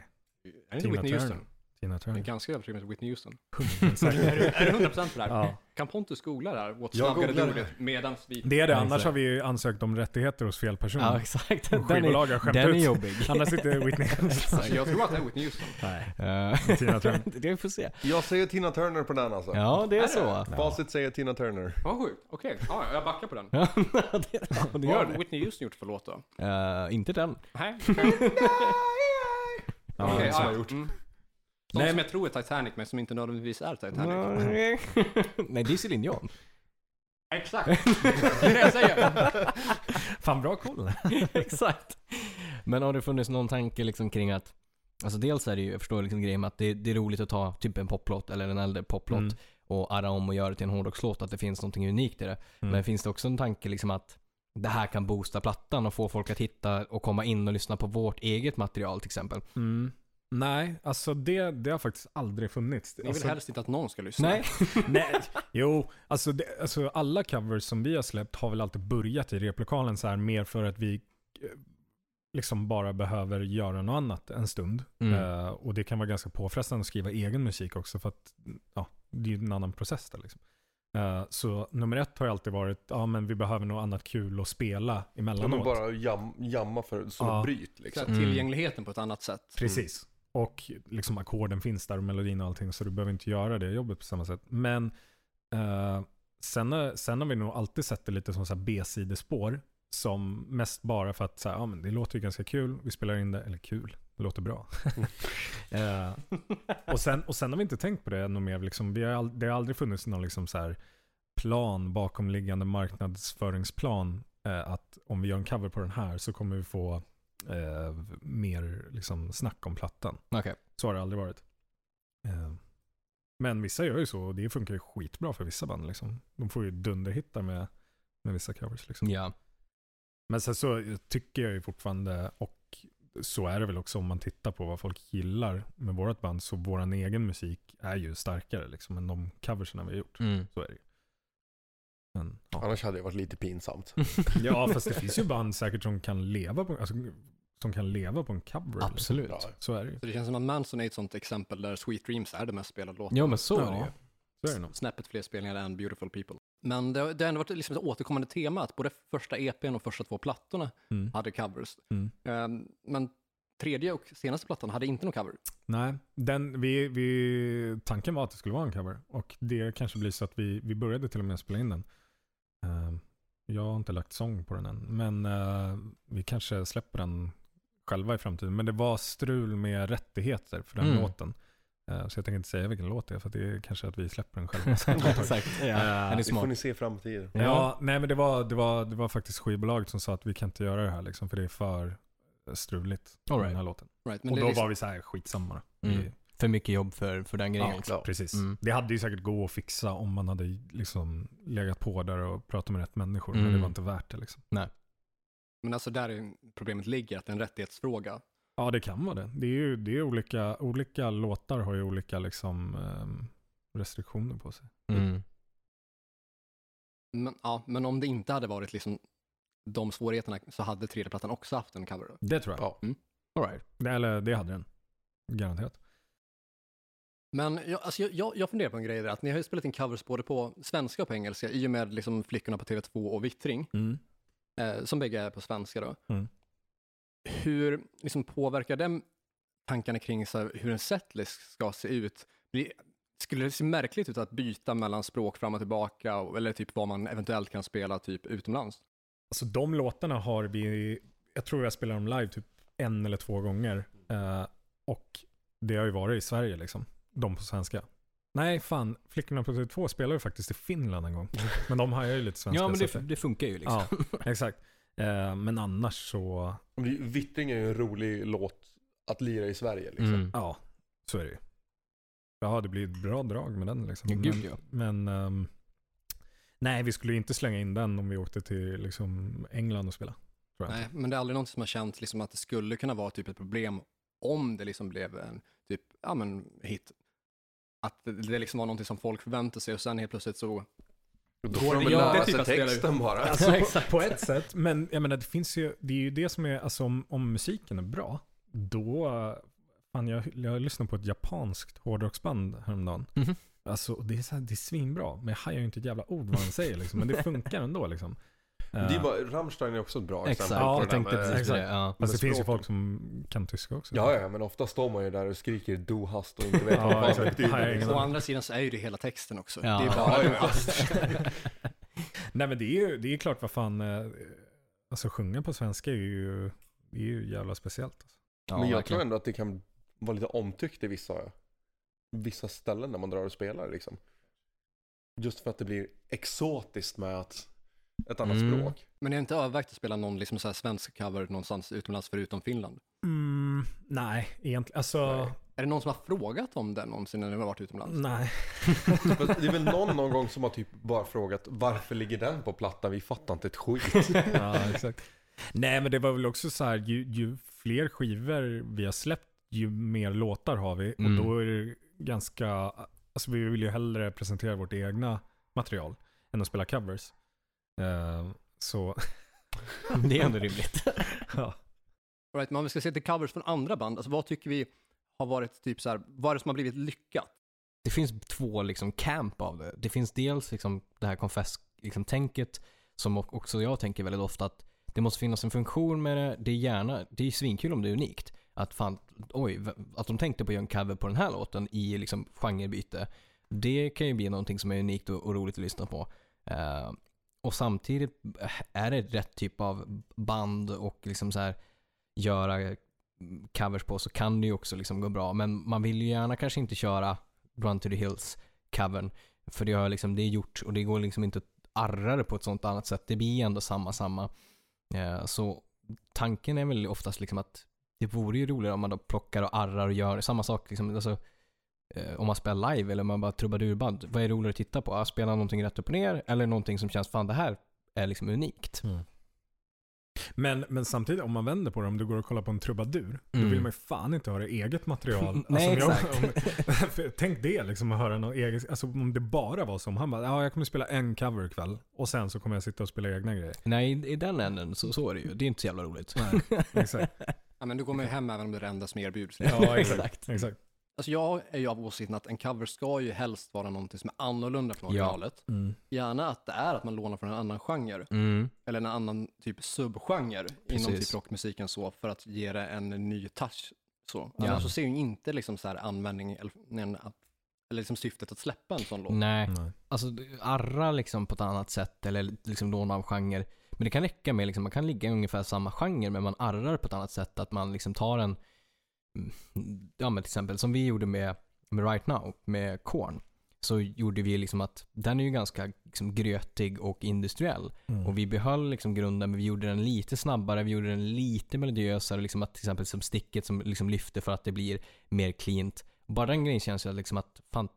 A: Är det inte
C: Tina
A: Whitney
C: Turner.
A: Houston?
C: Tina
A: Jag är
C: *laughs* Turner.
A: ganska övertygad om att det är Whitney Houston. är, du,
C: Säkert.
A: är du 100% på det här?
C: ja.
A: Kan Pontus googla det här? What's
D: Jag
A: Love Gotta
D: googlar
A: Do With It? Medans vi...
C: Det är det,
B: Ja,
C: annars
B: exakt.
C: har vi ju ansökt om rättigheter hos fel person. *laughs*
B: Ja, exakt. Den är,
C: Skivbolag har skämt
B: den är
C: ut.
B: jobbig.
C: *laughs* Annars sitter
B: *laughs*
C: Whitney Houston.
A: Alltså, jag tror att det är Whitney Houston.
C: Nej.
B: Eh,
C: Tina Turner.
B: *laughs* det får vi se.
D: Jag säger Tina Turner på den alltså.
B: Ja, det är så.
D: Facit säger Tina Turner.
A: Vad sjukt. Okej, ja, jag backar på den.
B: *laughs* Ja, det, ja, det
A: Vad
B: gör
A: har
B: det.
A: Whitney Houston gjort för låt då?
B: Eh, inte den.
A: Nej. *laughs* Okej,
C: Ja,
A: ja,
C: så-
A: ja. Mm. Någon
C: Nej,
A: som jag tror är Titanic, men som inte nödvändigtvis är Titanic.
B: *laughs* Nej, det är Céline Dion.
A: Exakt. Det är det jag säger.
C: Fan bra koll.
B: *laughs* Exakt. Men har det funnits någon tanke liksom kring att, alltså dels är det ju, jag förstår liksom grejen med att det, det är roligt att ta typ en poplåt eller en äldre poplåt
C: Mm.
B: och arra om och göra det till en hårdrockslåt, att det finns någonting unikt i det.
A: Mm.
C: Mm.
B: Men finns det också en tanke liksom att det här kan boosta plattan och få folk att hitta och komma in och lyssna på vårt eget material till exempel.
C: Mm. Nej, alltså det, det har faktiskt aldrig funnits.
A: Ni
C: Alltså,
A: vill helst inte att någon ska lyssna.
B: *laughs* Nej.
C: Nej, jo. Alltså, det, alltså alla covers som vi har släppt har väl alltid börjat i replokalen så här mer för att vi eh, liksom bara behöver göra något annat en stund.
B: Mm.
C: Eh, och det kan vara ganska påfrestande att skriva egen musik också för att ja, det är ju en annan process där liksom. Eh, så nummer ett har ju alltid varit, ja men vi behöver något annat kul att spela
D: De
C: emellanåt.
D: är bara jam, jamma för, som
C: Ja.
D: ett bryt
A: Så
D: liksom.
A: här,
B: Mm.
A: tillgängligheten på ett annat sätt.
C: Precis. Och liksom ackorden finns där och melodin och allting så du behöver inte göra det jobbet på samma sätt. Men eh, sen, har- sen har vi nog alltid sett det lite som så här B-sidespår. Som mest bara för att så här, ja, men det låter ju ganska kul, vi spelar in det, eller kul, det låter bra. *laughs* eh, och, sen, och sen har vi inte tänkt på det ännu mer. Liksom, vi har all, det har aldrig funnits någon liksom så här plan, bakomliggande marknadsföringsplan. Eh, att om vi gör en cover på den här så kommer vi få eh, mer liksom, snack om plattan.
B: Okej.
C: Så har det aldrig varit. Eh, men vissa gör ju så och det funkar ju skitbra för vissa band. Liksom. De får ju dunderhittar med, med vissa covers. Liksom.
B: Ja.
C: Men sen så tycker jag ju fortfarande, och så är det väl också om man tittar på vad folk gillar med vårt band, så vår egen musik är ju starkare liksom, än de coversen vi har gjort.
B: Mm.
C: Så är det ju. Men, ja.
D: Annars hade det varit lite pinsamt.
C: ja, fast det finns ju band säkert som kan leva på, alltså, som kan leva på en cover. Liksom.
B: Absolut.
D: Ja.
C: Så är det ju.
A: Så det känns som att Manson är ett sånt exempel där Sweet Dreams är det mest spelade låten.
B: Ja men så är det
C: Ja.
B: ju.
C: Så är det nog.
A: Snäppet fler spelningar än Beautiful People. Men det, har- det har ändå varit liksom ett återkommande tema att både första EPn och första två plattorna
C: Mm.
A: hade covers.
C: Mm.
A: Ehm, men tredje och senaste plattan hade inte någon cover.
C: Nej, den, vi, vi, tanken var att det skulle vara en cover. Och det kanske blir så att vi, vi började till och med spela in den. Eh, jag har inte lagt sång på den än, men eh, vi kanske släpper den själva i framtiden. Men det var strul med rättigheter för den
B: Mm.
C: låten. Eh, så jag tänker inte säga vilken låt det är, för att det är kanske att vi släpper
B: *laughs*
C: den själva. sen.
B: Exakt. Ja. Den är
D: Det får
B: smart.
D: ni se i framtiden.
C: Ja, nej men det var, det, var, det var faktiskt skivbolaget som sa att vi kan inte göra det här liksom, för det är för struligt. med
B: All right.
C: Den här låten.
A: Right, men
C: Och
A: det
C: då
A: är liksom,
C: var vi så här, skitsamma då.
B: Mm.
C: Vi,
B: För mycket jobb för, för den grejen.
C: Ja,
B: också.
D: Ja.
C: precis.
B: Mm.
C: Det hade ju säkert gå att fixa om man hade liksom legat på där och pratat med rätt människor. Men
B: Mm.
C: det var inte värt det liksom.
A: Men alltså där är problemet ligger, att det är en rättighetsfråga.
C: Ja, det kan vara det. Det är ju det är olika, olika låtar har ju olika liksom ehm, restriktioner på sig.
B: Mm.
A: Men, ja, men om det inte hade varit liksom de svårigheterna så hade tredje plattan också haft en cover.
C: Det tror jag.
D: Ja.
B: All right.
C: Det, eller det hade den. Garanterat.
A: Men jag, alltså jag- jag, jag funderar på en grej där, att ni har ju spelat in covers både på svenska och på engelska i och med liksom Flickorna på TV2 och Vittring, eh, som bägge är på svenska då.
C: Mm.
A: Hur liksom, påverkar den tankarna kring så här, hur en setlist ska se ut? Blir- Skulle det se märkligt ut att byta mellan språk fram och tillbaka och- eller typ vad man eventuellt kan spela typ utomlands?
C: Alltså de låtarna har vi, jag tror jag spelar dem live typ en eller två gånger. Eh, och det har ju varit i Sverige liksom. De på svenska. Nej, fan. Flickorna på TV2 spelar ju faktiskt i Finland en gång. Men de har ju lite svenska.
B: Ja men
C: så
B: det,
C: att
B: det funkar ju liksom. *laughs*
C: Ja, exakt. Eh, men annars så,
D: Vi- Vittring är ju en rolig låt att lira i Sverige liksom.
B: Mm.
C: ja, så är det ju. Ja, det blir ett bra drag med den liksom.
B: Ja,
C: men,
B: gud ja.
C: men ehm, nej, vi skulle ju inte slänga in den om vi åkte till liksom, England och spela. Tror jag.
A: Nej, men det är aldrig någonting som har känts liksom att det skulle kunna vara typ ett problem om det liksom blev en typ, ja men hit. Att det, det liksom var någonting som folk förväntade sig och sen helt plötsligt så,
D: Då
A: Går
D: får de
A: det-
D: väl
A: ja, det tycker
D: lära sig
A: jag spelar ut.
D: texten bara.
C: Alltså,
B: Ja,
C: på,
B: exakt.
C: på ett sätt, men jag menar, det finns ju, det är ju det som är, alltså om, om musiken är bra, då, eh, fan jag, jag lyssnade på ett japanskt hårdrocksband häromdagen.
B: Mhm.
C: Alltså det är, så här, det är svinbra, men jag hajar ju inte ett jävla ord vad han säger liksom, men det funkar ändå
D: *laughs*
C: liksom.
D: Det är
C: Eh,
D: bara, Rammstein är också ett bra
B: Exakt.
D: exempel
C: Ja,
B: jag
D: på det där
B: tänkte
D: med-
B: precis på det.
C: exakt.
B: Ja.
C: Fast Eh, alltså, det
D: med
C: finns ju
D: språken.
C: folk som kan tyska också.
D: Ja, ja, men ofta står man ju där och skriker do hast och inte vet
C: Ja,
D: vad fan det
C: exakt. Hajar
D: betyder.
C: ingen
A: å
D: liksom.
C: aning.
A: andra sidan så är ju det hela texten också.
B: Ja.
A: Det är
D: Ja,
A: bara
D: ja,
A: du
D: ja.
A: hast.
C: Nej men det är ju det är klart vad fan, eh, alltså sjunga på svenska är ju, det är ju jävla speciellt. Alltså.
B: Ja,
D: men jag
B: verkligen.
D: tror ändå att det kan vara lite omtyckt i vissa, vissa ställen när man drar och spelar liksom. Just för att det blir exotiskt med att, ett annat
B: Mm.
D: språk.
A: Men jag har inte övervägt att spela någon liksom så här svensk cover någonstans utomlands förutom Finland.
C: Mm, nej, egentligen, alltså,
A: Är det någon som har frågat om det någonsin när ni har varit utomlands?
D: *laughs*
C: nej.
D: Men det är väl någon någon gång som har typ bara frågat varför ligger den på plattan? Vi fattar inte ett skit.
C: *laughs* ja, exakt. Nej, men det var väl också så här, ju, ju fler skivor vi har släppt, ju mer låtar har vi.
B: Mm.
C: Och då är det ganska, alltså vi vill ju hellre presentera vårt egna material än att spela covers. Eh, så, *laughs*
B: Det är ändå rimligt.
C: ja.
A: All right, men om vi ska se till covers från andra band, alltså vad tycker vi har varit typ så här, vad är det som har blivit lyckat?
B: Det finns två liksom camp av det. Det finns dels liksom det här confess-tänket liksom, tänket, som o- också jag tänker väldigt ofta att det måste finnas en funktion med det. Det är gärna, det är svinkul om det är unikt. Att fan, oj, v- att de tänkte på att göra en cover på den här låten i liksom genrebyte. Det kan ju bli någonting som är unikt och, och roligt att lyssna på. Eh, och samtidigt eh, är det rätt typ av band och liksom så här göra covers på så kan det ju också liksom gå bra. Men man vill ju gärna kanske inte köra Run to the Hills-covern. För det, har liksom, det är gjort och det går liksom inte att arra det på ett sånt annat sätt. Det blir ändå samma, samma. Eh, så tanken är väl oftast liksom att det vore ju roligare om man då plockar och arrar och gör samma sak. Liksom, alltså, eh, om man spelar live eller om man bara trubadurband. Vad är roligare att titta på? Att spela någonting rätt upp och ner eller någonting som känns fan det här är liksom unikt.
C: Mm. men, men samtidigt, om man vänder på det, om du går och kollar på en trubadur, då
B: Mm.
C: vill man ju fan inte höra eget
B: *laughs*
C: material. Alltså,
B: Nej,
C: om jag-
B: exakt.
C: om- *laughs* För Tänk det liksom att höra någon egen, alltså om det bara var som han bara, ja jag kommer spela en cover ikväll och sen så kommer jag sitta och spela egna grejer.
B: Nej, i- i den änden så, så är det ju. Det är inte så jävla roligt.
C: Exakt.
B: *laughs*
A: Ja, men du kommer ju hem även om det är det enda som erbjuds.
C: Ja, exakt.
B: Mm.
C: exakt.
A: Alltså jag är ju av åsikten att en cover ska ju helst vara någonting som är annorlunda från
B: Ja.
A: originalet.
C: Mm.
A: Gärna att det är att man lånar från en annan genre,
B: Mm.
A: eller en annan typ subgenre inom
B: Precis.
A: typ rockmusiken så, för att ge det en ny touch. Så.
B: Ja.
A: Annars så ser ju inte liksom så här användning, eller, eller liksom syftet att släppa en sån låt.
B: Nej.
C: Nej.
B: alltså arra liksom på ett annat sätt eller liksom låna av genre. Men det kan räcka med liksom, man kan ligga i ungefär samma genre men man arrar på ett annat sätt. Att man liksom tar en, mm, ja men till exempel som vi gjorde med, med Right Now, med Korn. Så gjorde vi liksom att den är ju ganska liksom grötig och industriell.
C: Mm.
B: Och vi behöll liksom grunden men vi gjorde den lite snabbare, vi gjorde den lite melodiösare. Liksom att till exempel som sticket som liksom lyfter för att det blir mer cleant. Bara den grejen känns ju liksom att fan,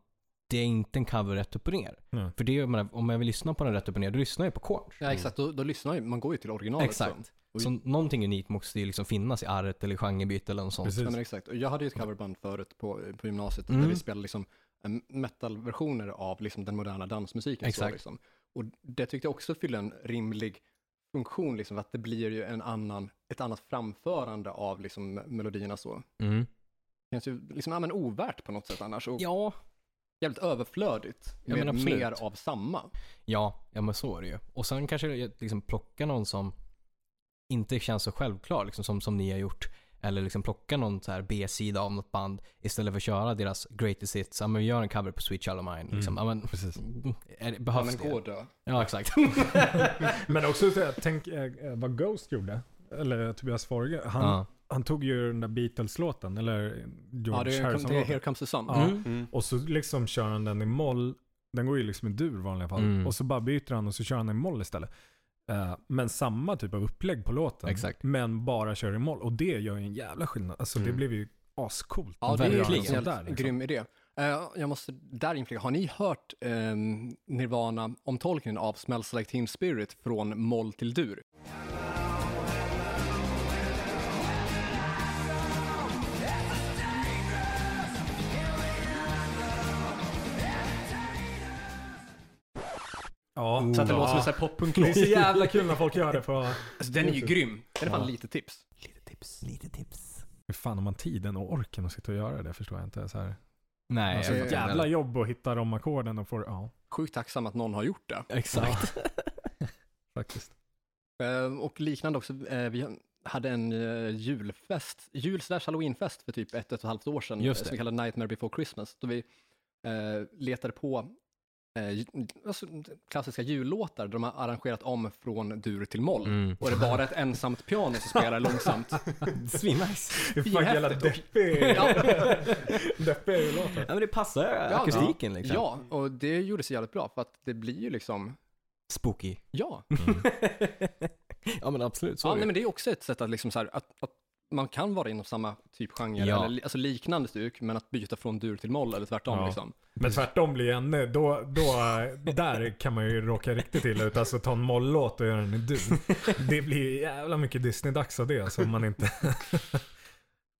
B: det är inte en cover rätt upp och ner.
C: Nej.
B: För det, jag menar, om jag vill lyssna på den rätt upp och ner, då lyssnar jag på Korn.
A: Ja, exakt. Då, då lyssnar ju, man går ju till originalet. Så.
B: Exakt. Så någonting unikt måste ju liksom finnas i arret eller genrebyte eller något sånt.
A: Ja,
C: Precis.
A: men exakt. Och jag hade ju ett coverband förut på, på gymnasiet
B: Mm.
A: där vi spelade liksom eh, metalversioner av liksom den moderna dansmusiken.
B: Exakt.
A: Så, liksom. Och det tyckte jag också fyllde en rimlig funktion, liksom, för att det blir ju en annan, ett annat framförande av liksom, melodierna. Så. Det
B: Mm.
A: känns ju liksom, ja, men ovärt på något sätt annars, och
B: Ja,
A: jävligt överflödigt
B: Ja,
A: med
B: men absolut.
A: mer av samma.
B: Ja, ja men så är det ju. Och sen kanske jag liksom plocka någon som inte känns så självklar, liksom som, som ni har gjort. Eller liksom plocka någon så här B-sida av något band istället för att köra deras greatest hits. Ja men vi gör en cover på Sweet Child of Mine. Liksom. Ja, men,
C: Precis.
B: är det,
A: Ja,
B: behövs
A: men gå
B: det?
A: och dö.
B: Ja exakt.
C: Men också, så här, tänk eh, eh, vad Ghost gjorde. Eller eh, Tobias Forge. Han,
B: *laughs* ja.
C: han tog ju den där Beatles-låten, eller
A: Ja,
C: George
A: det är, det är
C: Harrison-låten.
A: Here Comes the Sun.
C: Ja.
B: Mm.
D: Mm.
C: Och så liksom kör han den i moll. Den går ju liksom i dur i vanliga fall.
B: Mm.
C: Och så bara byter han och så kör han i moll istället. Eh, men samma typ av upplägg på låten.
B: Exakt.
C: Men bara kör i moll. Och det gör ju en jävla skillnad. Alltså det
D: Mm.
C: blev ju ascoolt.
A: Ja, det är ju en
C: Verkligen.
B: Verkligen.
A: helt
C: Sånt där, liksom.
A: grym idé. Eh, jag måste där inflika, har ni hört eh, Nirvana-omtolkningen av Smells Like Teen Spirit från moll till dur?
C: Ja,
A: Så att det
C: ja.
A: låter som en sån här
C: Det är så
A: poppunklåt.
C: jävla kul när folk gör det på...
A: Alltså, den är ju grym. Den är fan
C: Ja.
A: lite tips.
B: Lite tips. Lite tips.
C: Hur fan har man tiden och orken att sitta och göra det? Förstår jag inte. Så här.
B: Nej,
A: Alltså,
B: jag vet inte.
C: Jävla jobb att hitta de ackorden och få Ja,
A: Sjukt tacksam att någon har gjort det.
B: Exakt.
C: faktiskt.
A: Eh, och liknande också, eh, vi hade en eh, julfest, jul slash halloweenfest för typ ett, ett och ett halvt år sedan,
B: Just
A: eh,
B: det.
A: som vi kallade Nightmare Before Christmas, då vi eh, letade på eh, ju- alltså, klassiska jullåtar där de har arrangerat om från dur till moll.
B: Mm.
A: Och det är bara ett ensamt piano som
B: *laughs*
A: spelar *laughs* långsamt.
B: Svinnice.
C: Hur fan jävla
A: Jättehäftigt.
C: deppig
A: Ja.
C: deppig är ju låten.
B: Ja men det passar akustiken liksom.
A: Ja, och det gjorde sig jävligt bra för att det blir ju liksom,
B: Spooky.
A: ja.
B: *laughs* ja men absolut, så
A: ja
B: är det
A: nej,
B: ju.
A: men det är också ett sätt att liksom så här, att, att man kan vara inom samma typ genre,
B: Ja.
A: eller li- alltså liknande stuk, men att byta från dur till moll eller tvärtom
C: Ja.
A: liksom.
C: Men tvärtom blir ännu, då, då, där kan man ju råka riktigt illa ut. Alltså ta en mollåt och göra den i dur. Det blir ju jävla mycket Disney-dags av det. Alltså, om man inte...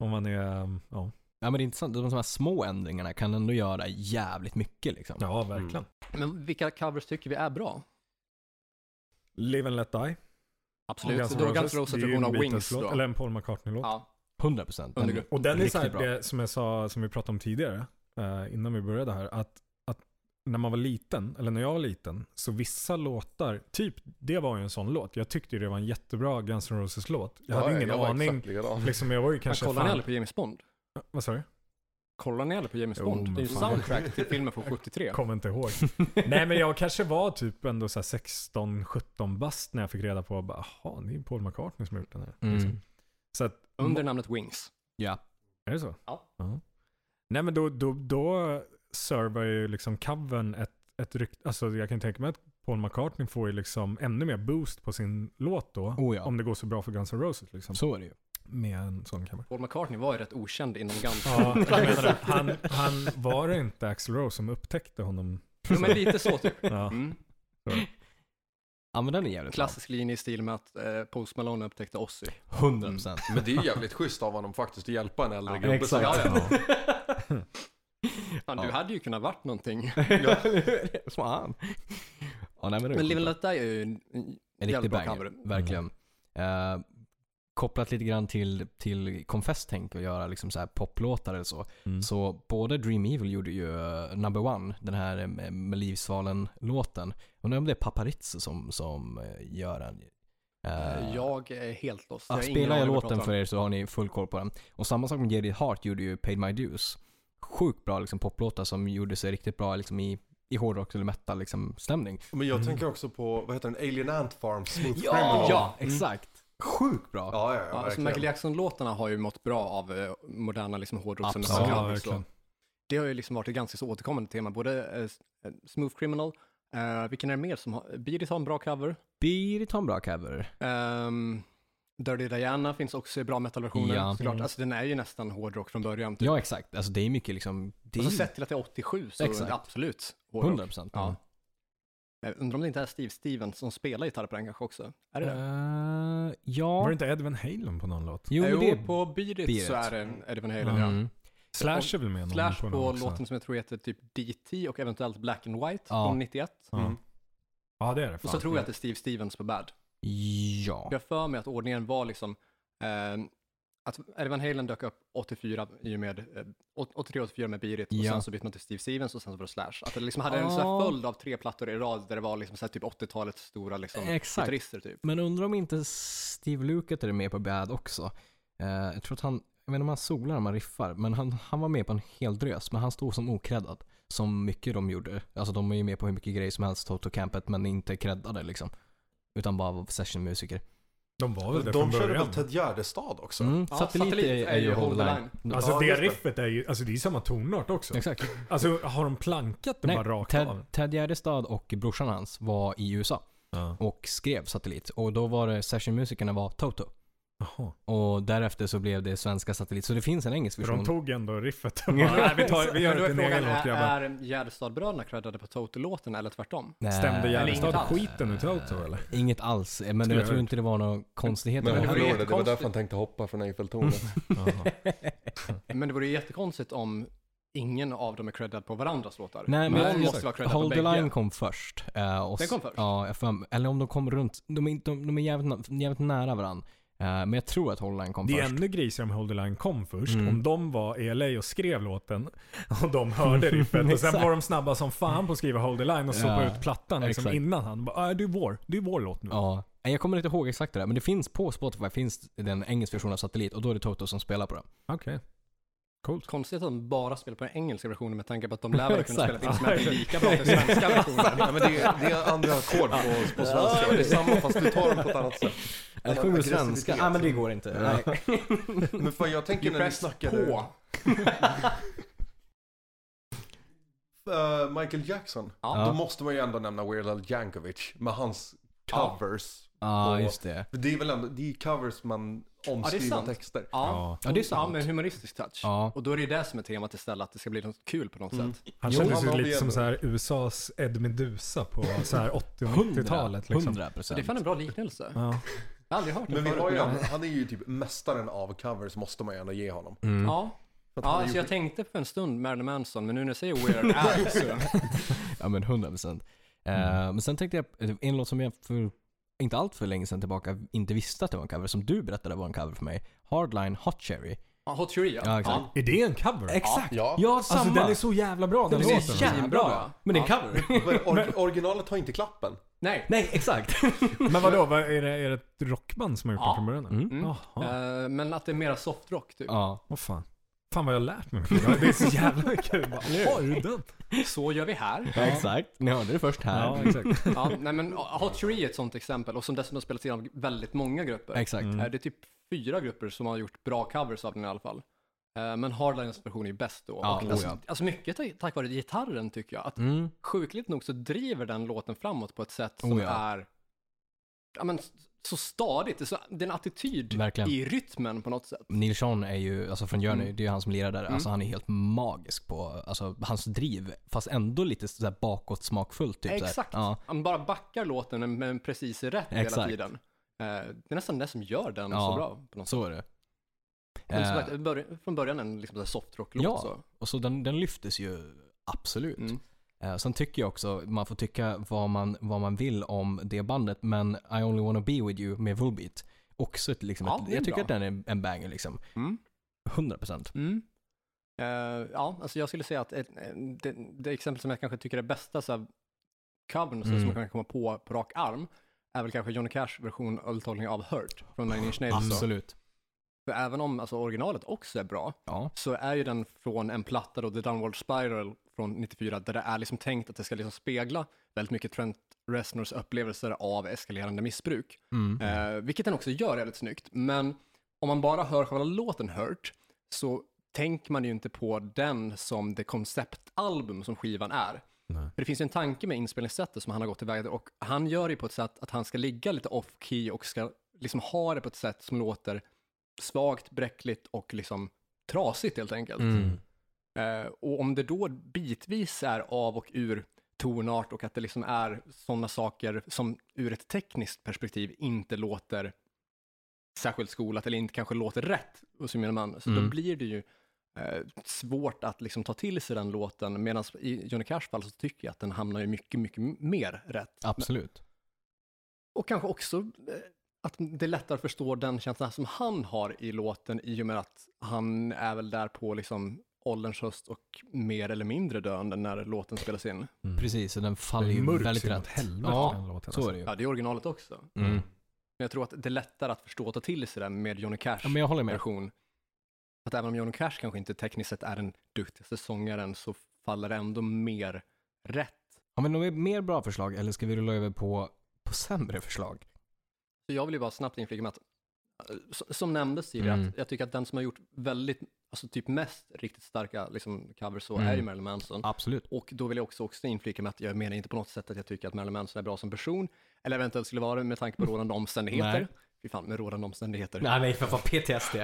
C: Om man är, um, ja.
B: Ja men det är intressant, de här små ändringarna kan ändå göra jävligt mycket liksom.
C: Ja, verkligen.
A: Men vilka covers tycker vi är bra?
C: Live and let die.
A: Absolut.
C: Guns N'
A: Då Guns
C: Roses.
A: N' Roses
C: Det är ju
A: version av
C: en
A: Wings
C: Beatles-låt,
A: då.
C: Eller en Paul McCartney-låt.
A: Ja,
B: 100 procent.
A: Undergrupp.
C: Och den är
B: Riktigt
C: så här,
B: bra.
C: det, som jag sa, som vi pratade om tidigare, eh, innan vi började här, att, att när man var liten, eller när jag var liten, så vissa låtar, typ det var ju en sån låt. Jag tyckte ju det var en jättebra Guns N' Roses-låt. Jag hade ingen
D: jag var
C: aning.
D: exakt likadan.
C: Liksom, jag var ju
A: Men
C: kanske...
A: kollar ni
C: fan-
A: aldrig på James Bond?
C: Vad sa du?
A: Kollar ni aldrig på James
C: Jo,
A: Bond? Det är ju
C: men fan.
A: soundtrack till filmen från 73.
C: Kommer
B: *laughs*
C: inte ihåg. Nej men jag kanske var typ ändå så här 16-17 bast när jag fick reda på bara, jaha, det är Paul McCartney som har gjort den här. Liksom.
B: Mm.
C: Så att,
A: Under namnet Wings.
B: Ja.
C: är det så?
A: Ja.
C: Nej men då, då, då servar ju liksom covern ett, ett rykte, alltså jag kan tänka mig att Paul McCartney får ju liksom ännu mer boost på sin låt då.
B: Oh ja.
C: Om det går så bra för Guns N' Roses liksom.
B: Så är det ju.
C: Med en sån cover.
A: Paul McCartney var ju rätt okänd inom Guns.
C: Ja, *laughs* jag menar det. Han, han var det inte Axl Rose som upptäckte honom.
A: Jo, men lite så
B: *laughs*
A: typ.
C: Ja.
A: Mm.
B: Ja men den är jävligt bra.
A: Klassisk linje i stil med att eh, Post Malone upptäckte Ozzy.
B: 100 procent.
D: Men det är ju jävligt schysst av honom faktiskt att hjälpa en äldre
A: Ja,
D: gubbe. som-
B: exakt.
D: Ja,
B: *laughs*
D: ja.
A: Fan, du
B: Ja.
A: hade ju kunnat varit någonting.
B: *laughs* Fan. Ja, nej, men det är
A: *laughs* Men
B: sjukt
A: Live
B: bra.
A: and Let Die är ju en en
B: En
A: jävligt
B: riktig
A: bra
B: banger,
A: cover.
B: verkligen. Eh, kopplat lite grann till, till Confess tänk och göra liksom så här poplåtar eller så.
C: Mm.
B: Så både Dream Evil gjorde ju eh, Number One, den här eh, med Livsvalen-låten. Undrar om det är Paparizzi som, som eh, gör den. Eh,
A: Eh, Jag är helt lost.
B: ja,
A: har ingen
B: spelar jag
A: aning vad du
B: låten
A: pratar
B: för
A: om.
B: er så har ni full koll på den. Och samma sak med Geddy Hart gjorde ju Paid My Dues. Sjukt bra liksom, poplåtar som gjorde sig riktigt bra liksom, i, i hårdrock eller metal liksom, stämning.
D: Men jag tänker också på, vad heter den, Alien Ant Farm Smooth
B: Ja,
D: Criminal.
B: ja exakt. Sjukt bra.
D: ja, ja,
A: Mm. Ja, alltså
D: verkligen.
A: Michael Jackson-låtarna har ju mått bra av eh, moderna liksom, hårdrocks och
B: Absolut.
C: Ja,
A: metalcovers.
C: verkligen.
A: då. det har ju liksom varit ett ganska så återkommande tema, både eh, s- eh, Smooth Criminal, eh, vilken är det mer som har, Beatles har en bra cover,
B: Beat har en bra cover.
A: Ehm, Dirty Diana finns också i bra metalversioner
B: Ja.
A: såklart.
C: Mm.
A: Alltså den är ju nästan hårdrock från början. Typ.
B: Ja exakt, alltså det är mycket liksom... Det är
A: Alltså sett till att det är 87 så är
B: Exakt.
A: det absolut hårdrock.
B: 100 procent.
A: Ja. Jag undrar om det inte är Steve Stevens som spelar gitarr på den kanske också. Är det
B: Eh,
A: det?
B: ja.
C: Var det inte Ed Van Halen på någon låt?
B: Jo,
A: Eh,
B: det är...
A: på Beat It
B: Beat
A: så är
B: It.
A: det Eddie Van Halen, ja.
B: Mm.
C: Slash är väl med någon
A: Slash på,
C: någon också?
A: låten som jag tror heter typ DT och eventuellt Black and White
B: Ja.
A: från 91.
C: Ja.
D: Mm.
C: ja, det är det.
A: Och
C: Fan.
A: så tror jag att det är Steve Stevens på Bad.
B: Ja.
A: Jag har för mig att ordningen var liksom eh, att Eddie Van Halen dök upp 84 i och med eh, 83-84 med Beat It och
B: Ja.
A: sen så bytte man till Steve Stevens och sen så var det Slash. Att det liksom hade en sån här
B: Ja.
A: följd av tre plattor i rad där det var liksom så här typ 80-talets stora liksom
B: Exakt.
A: gitarrister typ.
B: Men undrar om inte Steve Lukather är med på Bad också. Eh, jag tror att han, jag vet inte om han solar om han riffar, men han, han var med på en hel drös. Men han stod som okreddad. Som mycket de gjorde. Alltså de är ju med på hur mycket grejer som helst, Toto Campet, men inte creddade liksom. Utan bara var sessionmusiker.
C: De var väl det
D: De
C: från
D: körde väl
C: början?
D: Ted Gärde-stad också?
B: Mm.
A: Ja,
B: satellit, är, är ju Hold the line.
C: Alltså
D: Ja,
C: det
D: just det.
C: riffet är ju, alltså det är ju samma tonart också.
B: Exakt.
C: Alltså har de plankat det
B: Nej,
C: bara rakt
B: Ted,
C: av?
B: Ted Gärdestad och brorsan hans var i USA
C: Ja.
B: och skrev Satellit. Och då var det sessionmusikerna var Toto.
C: Jaha.
B: Och därefter så blev det svenska Satellit. Så det finns en engelsk
C: För de
B: version.
C: tog ändå riffet. Bara, *laughs* Nej, vi,
A: Men
C: tar, vi
A: då
C: gör
A: är
C: inte en egen
A: frågan,
C: låt grabbar.
A: är, är Gärdestadbröderna creddade på Toto-låten äh, eller tvärtom?
B: Nej,
C: Stämde
A: inget
C: Gärdestad
A: alls.
C: skiten ur Toto eller?
B: Inget alls. Eh, Men
C: Skulle
B: jag
C: jag
B: tror
C: hört.
B: inte det var några konstigheter.
D: Men
B: med
A: det
D: han
B: det
A: var
B: här.
A: ju
D: förlorade, det var
A: jättekonstigt.
D: därför han tänkte hoppa från Eiffeltornet.
B: *laughs*
C: Jaha.
A: Men det vore ju jättekonstigt om ingen av dem är creddad på varandras låtar.
B: Nej, men
A: Någon
B: jag-
A: måste vara creddad på
B: Hold the
A: bägge.
B: line kom först. eh, och
A: Den
B: s-
A: kom först?
B: Ja, jag för, eller om de kom runt. De är, inte- de, de är jävligt, na- jävligt nära varandra. men jag tror att Hold the line kom
C: Det är
B: först.
C: ännu grisigare om Hold the Line kom först.
B: Mm.
C: Om de var i LA och skrev låten och de hörde *laughs* riffet och sen
B: Exakt.
C: var de snabba som fan på att skriva Hold the Line och sopa
B: Ja,
C: ut plattan liksom
B: exakt.
C: innan han bara, "Ah, det är vår, det är vår låt nu.
B: Ja. Nej, Jag kommer inte ihåg exakt det där, men det finns på Spotify finns den engelska versionen av Satellit och då är det Toto som spelar på den.
C: Okej.
A: Konstigt att de bara spelar på den engelska versionen med tanke på att de lär väl kunna
B: Exakt.
A: spela ett instrument lika
B: *laughs*
A: bra som svenska versionen.
D: *laughs* Ja, men det, är, det är andra ackord på, på svenska. Det är samma fast du tar dem på ett annat sätt.
B: Eller
D: Ja,
B: sjunger
D: aggressivitet.
B: svenska. Nej men det går inte. Nej.
D: Men fan jag tänker när ni snackade...
A: på.
D: Eh, Michael Jackson.
A: Ja.
D: Då måste man ju ändå nämna Weird Al Yankovic med hans
A: Ja.
D: covers.
B: Ja just det.
D: För det är väl ändå, det är covers man omskriver
A: sant.
D: texter.
A: Ja.
B: Ja, det
A: Ja,
B: är sant.
A: med en humoristisk touch.
B: Ja.
A: Och då är det ju det som är temat istället, att det ska bli något kul på något
D: Mm.
A: sätt.
C: Han
B: Jo,
C: kändes
D: han
C: ju
D: var
C: lite
D: väl-
C: som så här USAs *laughs* Ed Meduza på så här 80 och 90-talet. Liksom.
B: 100
A: Så det är
B: procent.
A: fan en bra liknelse.
C: Ja.
A: Jag har aldrig hört
D: Men vi har ju,
A: förut.
B: Mm.
D: han, han är ju typ mästaren av covers, måste man ju ändå ge honom.
B: Mm.
A: Ja,
D: För att
A: ja
D: han har
A: alltså
D: gjort-
A: jag tänkte för en stund Marilyn Manson, men nu när jag säger
D: *laughs*
A: Weird Al så...
B: *laughs* Ja men 100 procent. Men sen tänkte jag, eh, en låt som jag för inte allt för länge sedan tillbaka inte visste att det var en cover, som du berättade var en cover för mig. Hardline Hot Cherry.
A: Ja, äh, Hot Theory ja.
B: Ja, exakt.
C: Är det en cover?
B: Exakt!
D: ja.
B: ja samma!
C: Alltså den är så jävla bra den
A: Den är
C: låten.
A: så jävla bra.
B: Men det är en
A: *laughs*
B: cover.
D: Men or- originalet har inte klappen.
A: Nej.
B: Nej, exakt.
C: Men vadå, vad, är, det, är det ett rockband som har gjort
A: Ja.
C: den från början? eller?
B: Mm.
C: Jaha,
A: Eh, men att det är mera softrock typ.
B: ja.
C: vad fan. Fan vad jag har lärt mig. Det är så jävla *laughs* kul. Bara, Har du den?
A: Så gör vi här.
B: exakt. Ni hörde det först här.
C: Ja, exakt.
A: Ja, nej, men Hot Theory är ett sånt exempel och som dessutom spelats in av väldigt många grupper.
B: Exakt.
C: Mm.
A: Eh, Det är typ fyra grupper som har gjort bra covers av den i alla fall. Eh, Men Hardlines version är bäst då.
B: Ja,
A: och
B: oh
A: alltså,
B: ja.
A: alltså mycket ta- tack vare gitarren tycker jag. Att
B: Mm.
A: Sjukligt nog så driver den låten framåt på ett sätt som
B: Oh ja.
A: är ja, men, s- så stadigt. Det är så- Det är en attityd
B: Verkligen.
A: i rytmen på något sätt.
B: Neil Sean är ju, alltså från Journey,
A: Mm.
B: det är ju han som lirar där. Alltså
A: Mm.
B: han är helt magisk på, alltså hans driv. Fast ändå lite sådär bakåt smakfullt typ. så här.
A: Exakt.
B: Ja.
A: Han bara backar låten men- men precis är rätt hela
B: Exakt.
A: tiden. Eh, Det är nästan det som gör den
B: Ja.
A: så bra. På något sätt.
B: Så är det.
A: Men som
B: Eh,
A: sagt, bör- från början en liksom så här softrocklåt.
B: Ja.
A: Så.
B: och så den, den lyftes ju absolut.
A: Mm.
B: Eh, sen tycker jag också, man får tycka vad man, vad man vill om det bandet, men I only wanna be with you med Volbeat. Också ett, liksom,
A: Ja,
B: ett,
A: det är
B: jag tycker
A: bra.
B: att den är en banger liksom.
A: Mm.
B: 100%.
A: Mm. Eh, ja, alltså jag skulle säga att ett, eh, det, det exempel som jag kanske tycker är bästa så här, covern så
B: Mm.
A: som man kan komma på på rak arm är väl kanske Johnny Cash version uttolkning av Hurt från Nine Inch Nails. Så.
B: Absolut.
A: För även om alltså, originalet också är bra
B: Ja.
A: så är ju den från en platta då, The Downward Spiral från 94, där det är liksom tänkt att det ska liksom spegla väldigt mycket Trent Reznors upplevelser av eskalerande missbruk.
B: Mm.
A: Eh, vilket den också gör jävligt snyggt. Men om man bara hör själva låten Hurt så tänker man ju inte på den som det konceptalbum som skivan är.
C: Nej.
A: För det finns ju en tanke med inspelningssättet som han har gått tillväga och han gör det på ett sätt att han ska ligga lite off-key och ska liksom ha det på ett sätt som låter svagt, bräckligt och liksom trasigt helt enkelt.
B: Mm.
A: Eh, och om det då bitvis är av och ur tonart och att det liksom är sådana saker som ur ett tekniskt perspektiv inte låter särskilt skolat eller inte kanske låter rätt, och så menar man, så
B: Mm.
A: då blir det ju eh, svårt att liksom ta till sig den låten, medan i Johnny Cash fall så tycker jag att den hamnar ju mycket, mycket mer rätt.
B: Absolut.
A: Och kanske också eh, att det är lättare att förstå den känslan som han har i låten i och med att han är väl där på liksom ålderns höst och mer eller mindre döende när låten spelas in.
B: Precis, så den
C: Det
B: faller
C: är
B: ju
C: mörkt
B: väldigt
C: så inåt
B: rätt.
C: helvete
B: Ja,
C: den låten.
B: så är det ju.
A: Ja, det är originalet också.
B: Alltså. Mm.
A: Men jag tror att det är lättare att förstå och ta till sig den med Johnny Cash
B: Ja, men jag håller med.
A: version. Att även om Johnny Cash kanske inte tekniskt sett är den duktigaste sångaren så faller det ändå mer rätt.
B: Har vi något mer bra förslag eller ska vi rulla över på, på sämre förslag?
A: Så jag vill ju bara snabbt inflika med att, eh, s- som nämndes tidigare,
B: Mm.
A: att jag tycker att den som har gjort väldigt, alltså typ mest riktigt starka liksom, covers så
B: Mm.
A: är ju Marilyn Manson.
B: Absolut.
A: Och då vill jag också, också inflika med att jag menar inte på något sätt att jag tycker att Marilyn Manson är bra som person, eller eventuellt skulle vara det med tanke på rådande omständigheter.
B: Mm. Nej.
A: Fy fan, med rådande omständigheter.
B: Nej, nej för fan PTSD.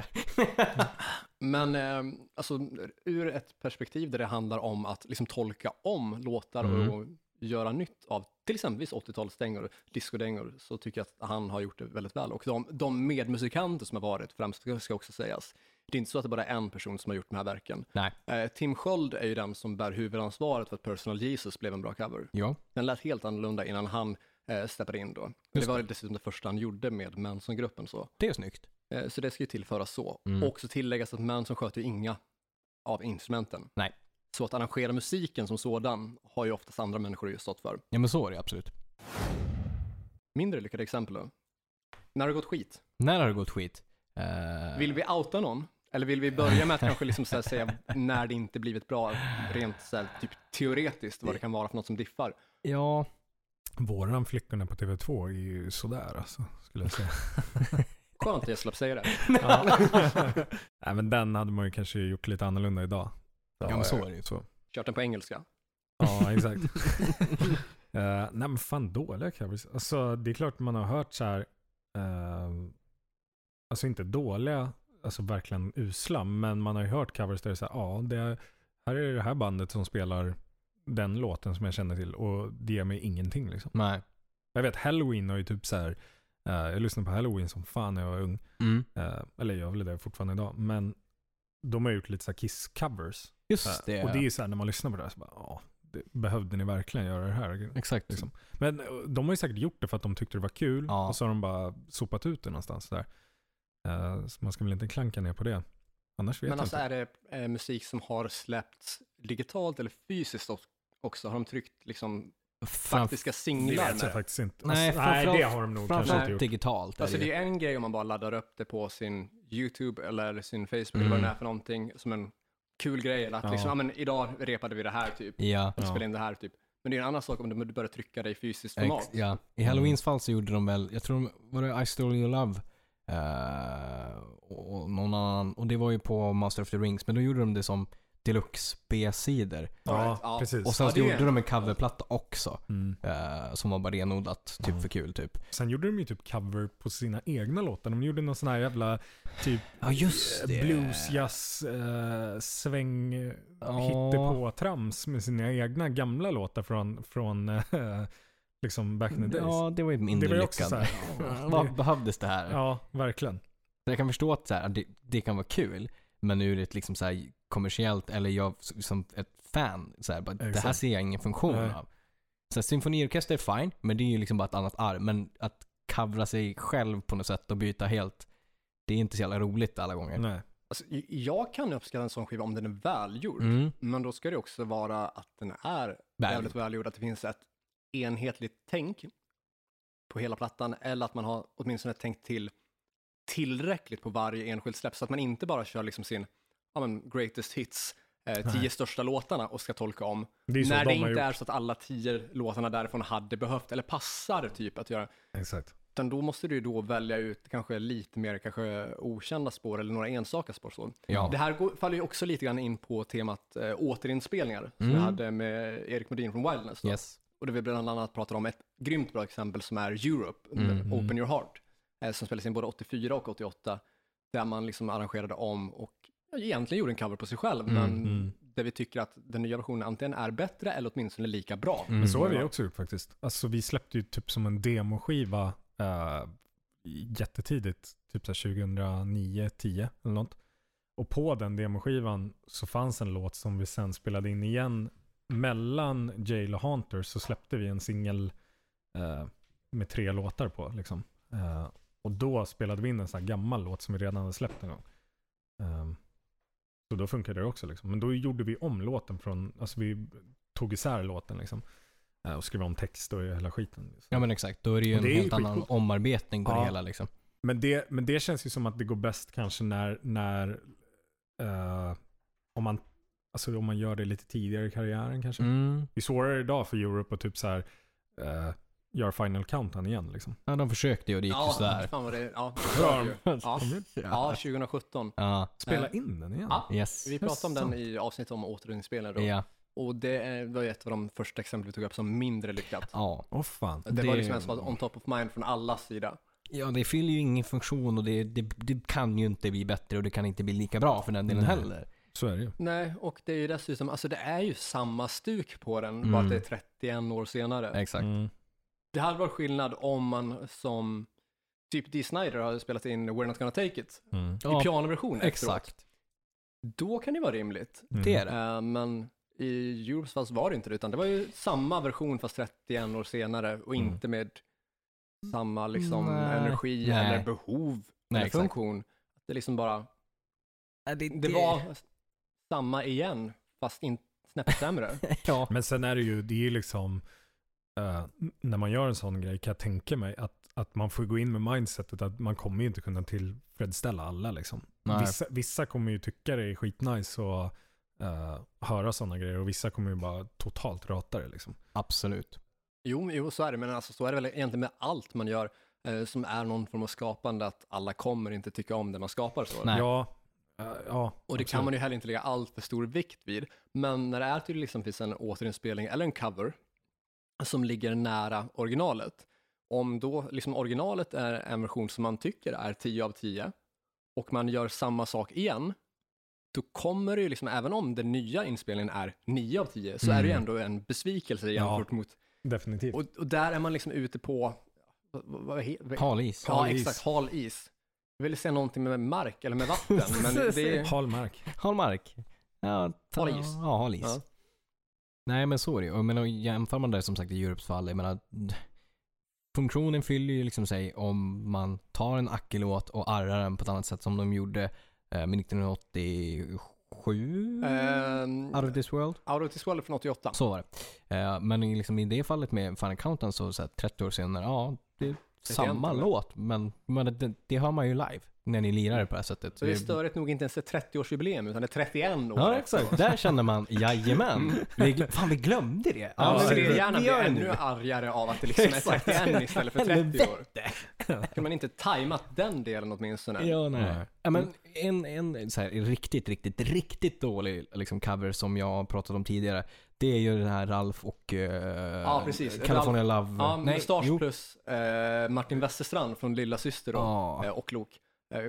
A: Men eh, alltså, ur ett perspektiv där det handlar om att liksom tolka om låtar
B: Mm.
A: och göra nytt av till exempelvis 80-talsdängor, discodängor, så tycker jag att han har gjort det väldigt väl. Och de, de medmusikanter som har varit främst, ska- ska också sägas, det är inte så att det bara är en person som har gjort de här verken.
B: nej.
A: Eh, Tim Sköld är ju den som bär huvudansvaret för att Personal Jesus blev en bra cover.
B: Ja.
A: Den lät helt annorlunda innan han eh, steppade in då.
B: Just
A: det var dessutom det första han gjorde med Manson-gruppen så.
B: Det är snyggt.
A: Eh, Så det ska ju tillföras så.
B: Mm.
A: Och så tilläggas att Manson sköter ju inga av instrumenten.
B: Nej.
A: Så att arrangera musiken som sådan har ju oftast andra människor just stått för.
B: Ja men så är det absolut.
A: Mindre lyckade exempel då. När det gått skit,
B: När har det gått skit? Eh,
A: vill vi outa någon? Eller vill vi börja med att kanske liksom så här säga *laughs* när det inte blivit bra, rent så här, typ teoretiskt, vad det kan vara för något som diffar?
B: *laughs* Ja.
C: Våran Flickorna på TV2 är ju sådär alltså, skulle jag säga.
A: Skönt att jag slapp säga det.
C: *laughs* Nej men den hade man ju kanske gjort lite annorlunda idag.
B: Ja, men så är det ju.
C: Så.
A: Kört den på engelska.
C: Ja, exakt. Eh, nej men fan dåliga covers. Alltså det är klart man har hört så här. eh, alltså inte dåliga, alltså verkligen usla. Men man har ju hört covers där det är så här, ja det, här är det här bandet som spelar den låten som jag känner till och det ger mig ingenting liksom.
B: *laughs* Nej.
C: Jag vet Halloween har ju typ så här Eh, jag lyssnade på halloween som fan när jag var ung.
B: Mm.
C: Eh, eller jag vill det fortfarande idag. Men de har gjort lite så här Kiss-covers. Eh,
B: Just det.
C: Och det är ju så här när man lyssnar på det här så bara, ja, det, behövde ni verkligen göra det här?
B: Exakt.
C: liksom. Men eh, de har ju säkert gjort det för att de tyckte det var kul
B: Ja.
C: och så har de bara sopat ut det någonstans där. Eh, så man ska väl inte klanka ner på det. Annars vet
A: Men
C: jag
A: alltså
C: inte.
A: är det eh, musik som har släppts digitalt eller fysiskt ock- också? Har de tryckt liksom
B: Framf-
A: faktiska
C: det
A: singlar
C: vet
A: med
C: jag
A: det?
C: faktiskt inte.
B: Nej,
C: alltså, nej, det
B: framförallt-
C: har de nog kanske inte
B: Framförallt
C: gjort.
B: digitalt. är
A: Alltså
B: det ju.
A: det är ju en grej om man bara laddar upp det på sin YouTube eller sin Facebook eller vad det
B: Mm.
A: nu är för någonting som en kul grej. Eller att
C: Ja.
A: liksom, ja men idag repade vi det här typ,
B: Ja.
A: vi
C: Ja.
A: spelade in det här typ. Men det är en annan sak om du börjar trycka det i fysiskt
B: Ex,
A: format.
B: ja. I
C: Mm.
B: Halloweens fall så gjorde de väl, jag tror de, var det I Stole Your Love? Eh, och, och någon annan, och det var ju på Master of the Rings, men då gjorde de det som deluxe B-sidor.
C: Ja,
A: Alright, ja.
C: precis.
B: Och sen
A: Ja,
B: så
A: det är ju
B: gjorde
A: en-
B: de en coverplatta också.
C: Mm.
B: eh, som var bara renodlat, typ för kul typ.
C: Sen gjorde de ju typ cover på sina egna låtar. De gjorde någon sån här jävla typ
B: Ja just det.
C: blues, jazz, eh, sväng,
B: Ja.
C: hittepå trams med sina egna gamla låtar från, från eh, *laughs* liksom back in the days.
B: Mm, Ja, det var ju
C: det
B: mindre
C: var ju också
B: lyckad.
C: så här,
B: Vad behövdes det här?
C: ja, verkligen.
B: Jag kan förstå att så här, det, det kan vara kul, men ur ett liksom så här kommersiellt, eller jag s- som ett fan, så här, bara, det här
C: Exakt.
B: ser jag ingen funktion
C: Nej.
B: av. Så här, symfoniorkester är fine, men det är ju liksom bara ett annat arv. Men att covra sig själv på något sätt och byta helt, det är inte så jävla roligt alla gånger.
C: Nej.
A: Alltså, j- jag kan uppskatta en sån skiva om den är välgjord.
B: Mm.
A: Men då ska det också vara att den är
B: Väl.
A: jävligt välgjord, att det finns ett enhetligt tänk på hela plattan, eller att man har åtminstone tänkt till tillräckligt på varje enskilt släpp, så att man inte bara kör liksom sin ja, men, greatest hits, eh, tio
C: Nej.
A: största låtarna och ska tolka om.
C: Det är ju så
A: när
C: de
A: det
C: har
A: inte
C: gjort.
A: är så att alla tio låtarna därifrån hade behövt, eller passar typ att göra.
C: Exakt.
A: Utan då måste du ju då välja ut kanske lite mer kanske okända spår eller några enstaka spår. Så.
B: Ja.
A: Det här går, faller ju också lite grann in på temat eh, återinspelningar som
B: Mm.
A: jag hade med Erik Modin från Wildness. Då.
B: Yes.
A: Och där vi bland annat pratade om ett grymt bra exempel som är Europe,
B: Mm.
A: Open Your Heart, eh, som spelades in både 84 och 88, där man liksom arrangerade om och ja, egentligen gjorde en cover på sig själv,
B: Mm.
A: men
C: Mm.
A: där vi tycker att den nya versionen antingen är bättre eller åtminstone lika bra.
B: Mm.
C: Men så har vi också gjort faktiskt. Alltså vi släppte ju typ som en demoskiva eh, jättetidigt, typ så här 2009, 10 eller något. Och på den demoskivan så fanns en låt som vi sen spelade in igen. Mellan Jail och Hunter så släppte vi en singel eh, med tre låtar på liksom. Eh, och då spelade vi in en sån här gammal låt som vi redan hade släppt en gång. Ehm, så då funkade det också liksom. Men då gjorde vi om låten från, alltså vi tog isär låten liksom. Eh, Och skrev om text och hela skiten. liksom.
B: Ja men exakt, då är det ju
C: Och
B: en
C: det är ju
B: helt annan
C: skitcoolt.
B: omarbetning på det
C: Ja.
B: hela liksom.
C: Men det, men det känns ju som att det går bäst kanske när, när eh, om, man, alltså om man gör det lite tidigare i karriären kanske.
B: Mm.
C: Det är svårare idag för Europe att typ så här, eh, göra Final Countdown igen liksom.
B: Ja, de försökte ju och det gick ju sådär.
A: fan vad det, ja, Ja.
C: *laughs*
B: Ja.
A: ja, 2017.
B: ja.
C: Spela
A: Eh,
C: in den igen.
A: ja.
B: Yes.
A: Vi pratade om den i avsnittet om återinspelningar då.
B: Ja.
A: Och det är- var ju ett av de första exempel vi tog upp som mindre lyckat.
B: ja.
C: Åh fan.
A: Det,
B: Det-
A: var liksom en som var on top of mind från alla sida.
B: Ja, det fyller ju ingen funktion och det, det, det kan ju inte bli bättre och det kan inte bli lika bra för den delen
C: Nej.
B: heller.
C: Så är det ju.
A: Nej, och det är ju dessutom, alltså det är ju samma stuk på den,
B: Mm.
A: bara att det är 31 år senare.
B: Exakt.
C: Mm.
A: Det hade varit skillnad om man som typ Dee Snider hade spelat in We're Not Gonna Take It
C: Mm.
A: i
B: Ja,
A: pianoversion efteråt.
B: exakt.
A: Då kan det vara rimligt.
B: Det
C: Mm.
B: är det.
A: Eh, men i Europes fall så var det inte det, utan det var ju samma version fast 31 år senare och
C: Mm.
A: inte med samma liksom
B: Nej.
A: energi
B: Nej.
A: eller behov
B: Nej,
A: eller
B: exakt.
A: funktion. Det är liksom bara
B: Ja,
A: Det var samma igen, fast inte snäppet
B: *laughs*
A: sämre.
B: ja.
C: Men sen är det ju, det är ju liksom, eh, när man gör en sån grej kan jag tänka mig att, att man får gå in med mindsetet att man kommer ju inte kunna tillfredsställa alla liksom.
B: Nej.
C: Vissa, vissa kommer ju tycka det är skitnice och eh, höra sådana grejer och vissa kommer ju bara totalt rata det liksom.
B: Absolut.
A: jo, jo, så är det, men alltså, så är det väl egentligen med allt man gör eh, som är någon form av skapande, att alla kommer inte tycka om det man skapar. Så.
B: Nej.
C: Ja, eh, ja.
A: Och det kan man ju heller inte lägga allt för stor vikt vid. Men när det är till liksom finns en återinspelning eller en cover som ligger nära originalet, om då liksom originalet är en version som man tycker är 10 av 10 och man gör samma sak igen, då kommer det ju liksom, även om den nya inspelningen är 9 av 10, så är det ju
B: Mm.
A: ändå en besvikelse
C: Ja.
A: jämfört mot...
C: Definitivt.
A: Och, och där är man liksom ute på, vad- vad he- vad-
B: Hal is.
A: Ja,
C: Hal is.
A: exakt. Hal is. Jag ville säga någonting med mark eller med
C: *laughs*
A: vatten, men det är...
C: Hallmark.
B: Hallmark. Ja, ta,
A: Hal is.
B: Ja, hal is.
A: Ja.
B: Nej men så är det ju. Och Jag menar, jämför man det som sagt i Europes fall, jag menar d- funktionen fyller ju liksom sig om man tar en ackelåt och arrar den på ett annat sätt som de gjorde eh, med 1987?
A: Ehm,
B: Out of this world?
A: Out of this world från 88.
B: Så var det. Eh, men i liksom i det fallet med Final Countdown så, så här, 30 år senare, ja det är samma
A: egentligen.
B: låt men, men det, det hör man ju live när ni lirar det på det här sättet.
A: Så det är störigt nog inte ens ett 30-årsjubileum, utan ett 31 år.
B: Ja exakt, där känner man jajamän. Vi, gl- Mm. fan vi glömde det.
A: Ja,
C: Ja,
A: men
C: det-
A: det är gärna
B: vi
A: blir
B: gör det
A: ännu
B: nu.
A: argare av att det liksom är
B: Exakt.
A: 31 istället för 30
B: Helvete.
A: år. Kunde man inte tajmat den delen åtminstone?
B: Ja, nej.
C: Nej.
B: Ja, men en en så här, riktigt, riktigt, riktigt dålig liksom, cover som jag har pratat om tidigare. Det är ju den här Ralf och uh,
A: Ja, precis.
B: California Love.
A: Ja, Mustasch
B: jo.
A: plus eh, Martin Westerstrand från Lilla Syster då,
B: Ja.
A: eh, och Lok. Eh,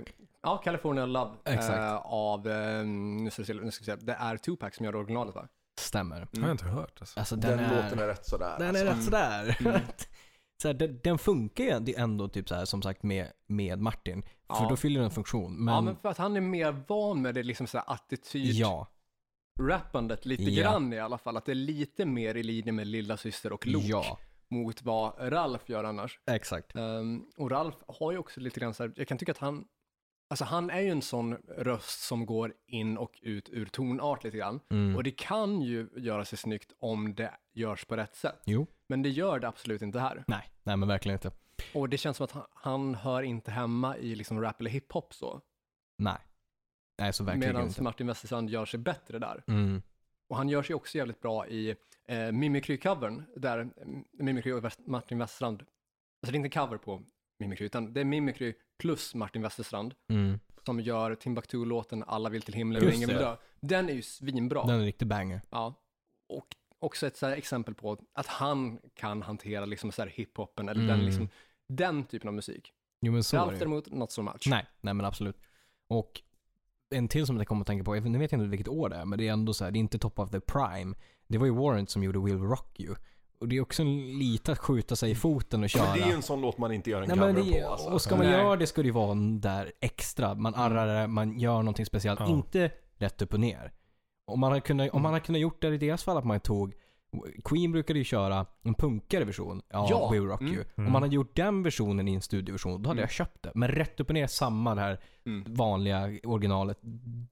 A: ja, California Love
B: Exakt.
A: eh, av, eh, nu ska vi se, nu ska vi se, det är Tupac som gör originalet va?
B: Stämmer.
A: Mm.
C: har jag inte hört alltså.
B: Alltså,
D: Den,
B: den, är, Mm.
D: låten är rätt sådär. alltså.
B: Den är rätt sådär.
A: Mm.
B: *laughs* så här, den, den funkar ju ändå- ändå typ så här, som sagt med, med Martin. För
A: Ja.
B: då fyller den en funktion.
A: Ja,
B: Men,
A: men för att han är mer van med det liksom såhär attityd-rappandet
B: ja,
A: lite
B: Ja.
A: grann i alla fall. Att det är lite mer i linje med Lilla Syster och Lok
B: ja,
A: mot vad Ralf gör annars.
B: exakt.
A: Ehm, och Ralf har ju också lite grann så här, jag kan tycka att han, alltså han är ju en sån röst som går in och ut ur tonart lite grann.
B: Mm.
A: Och det kan ju göra sig snyggt om det görs på rätt sätt.
B: Jo.
A: Men det gör det absolut inte här.
B: Nej, nej men verkligen inte.
A: Och det känns som att han, han hör inte hemma i liksom rap eller hiphop så.
B: Nej. Nej, så verkligen
A: Medan
B: inte.
A: Martin Westerstrand gör sig bättre där.
B: Mm.
A: Och han gör sig också jävligt bra i eh, Mimikry-covern, där mm, Mimikry och West- Martin Westerstrand, alltså det är inte en cover på Mimikry, utan det är Mimikry plus Martin Westerstrand
B: Mm.
A: som gör Timbuktu-låten Alla vill till himlen men
B: Just
A: ingen
B: det.
A: vill dö. Den är ju svinbra.
B: Den är en riktig banger.
A: Ja. Och också ett så här exempel på att han kan hantera liksom så här hiphopen eller den,
B: Mm.
A: liksom, den typen av musik.
B: Jo men så är
A: Ralf
B: det ju.
A: däremot, not so much.
B: Nej, nej men absolut. Och en till som jag kommer att tänka på, jag vet- nu vet jag inte vilket år det är, men det är ändå så här, det är inte top of the prime. Det var ju Warrant som gjorde Will Rock You. Och det är också en lite att skjuta sig i foten och
D: Ja,
B: köra.
D: men det är ju en sån låt man inte gör en
B: Nej,
D: cover
B: men det,
D: på alltså.
B: och ska man
A: Nej.
B: göra det ska det ju vara en där extra. Man arrar det, man gör någonting speciellt.
C: Ja.
B: Inte rätt upp och ner. Om man, hade kunnat, om man hade kunnat gjort det i deras fall att man tog Queen brukade ju köra en punkigare version av
A: Ja.
B: We Rock
A: Mm.
B: You. Om
C: Mm.
B: man hade gjort den versionen i en studioversion, då hade
A: Mm.
B: jag köpt det. Men rätt upp och ner, samma det här
A: Mm.
B: vanliga originalet.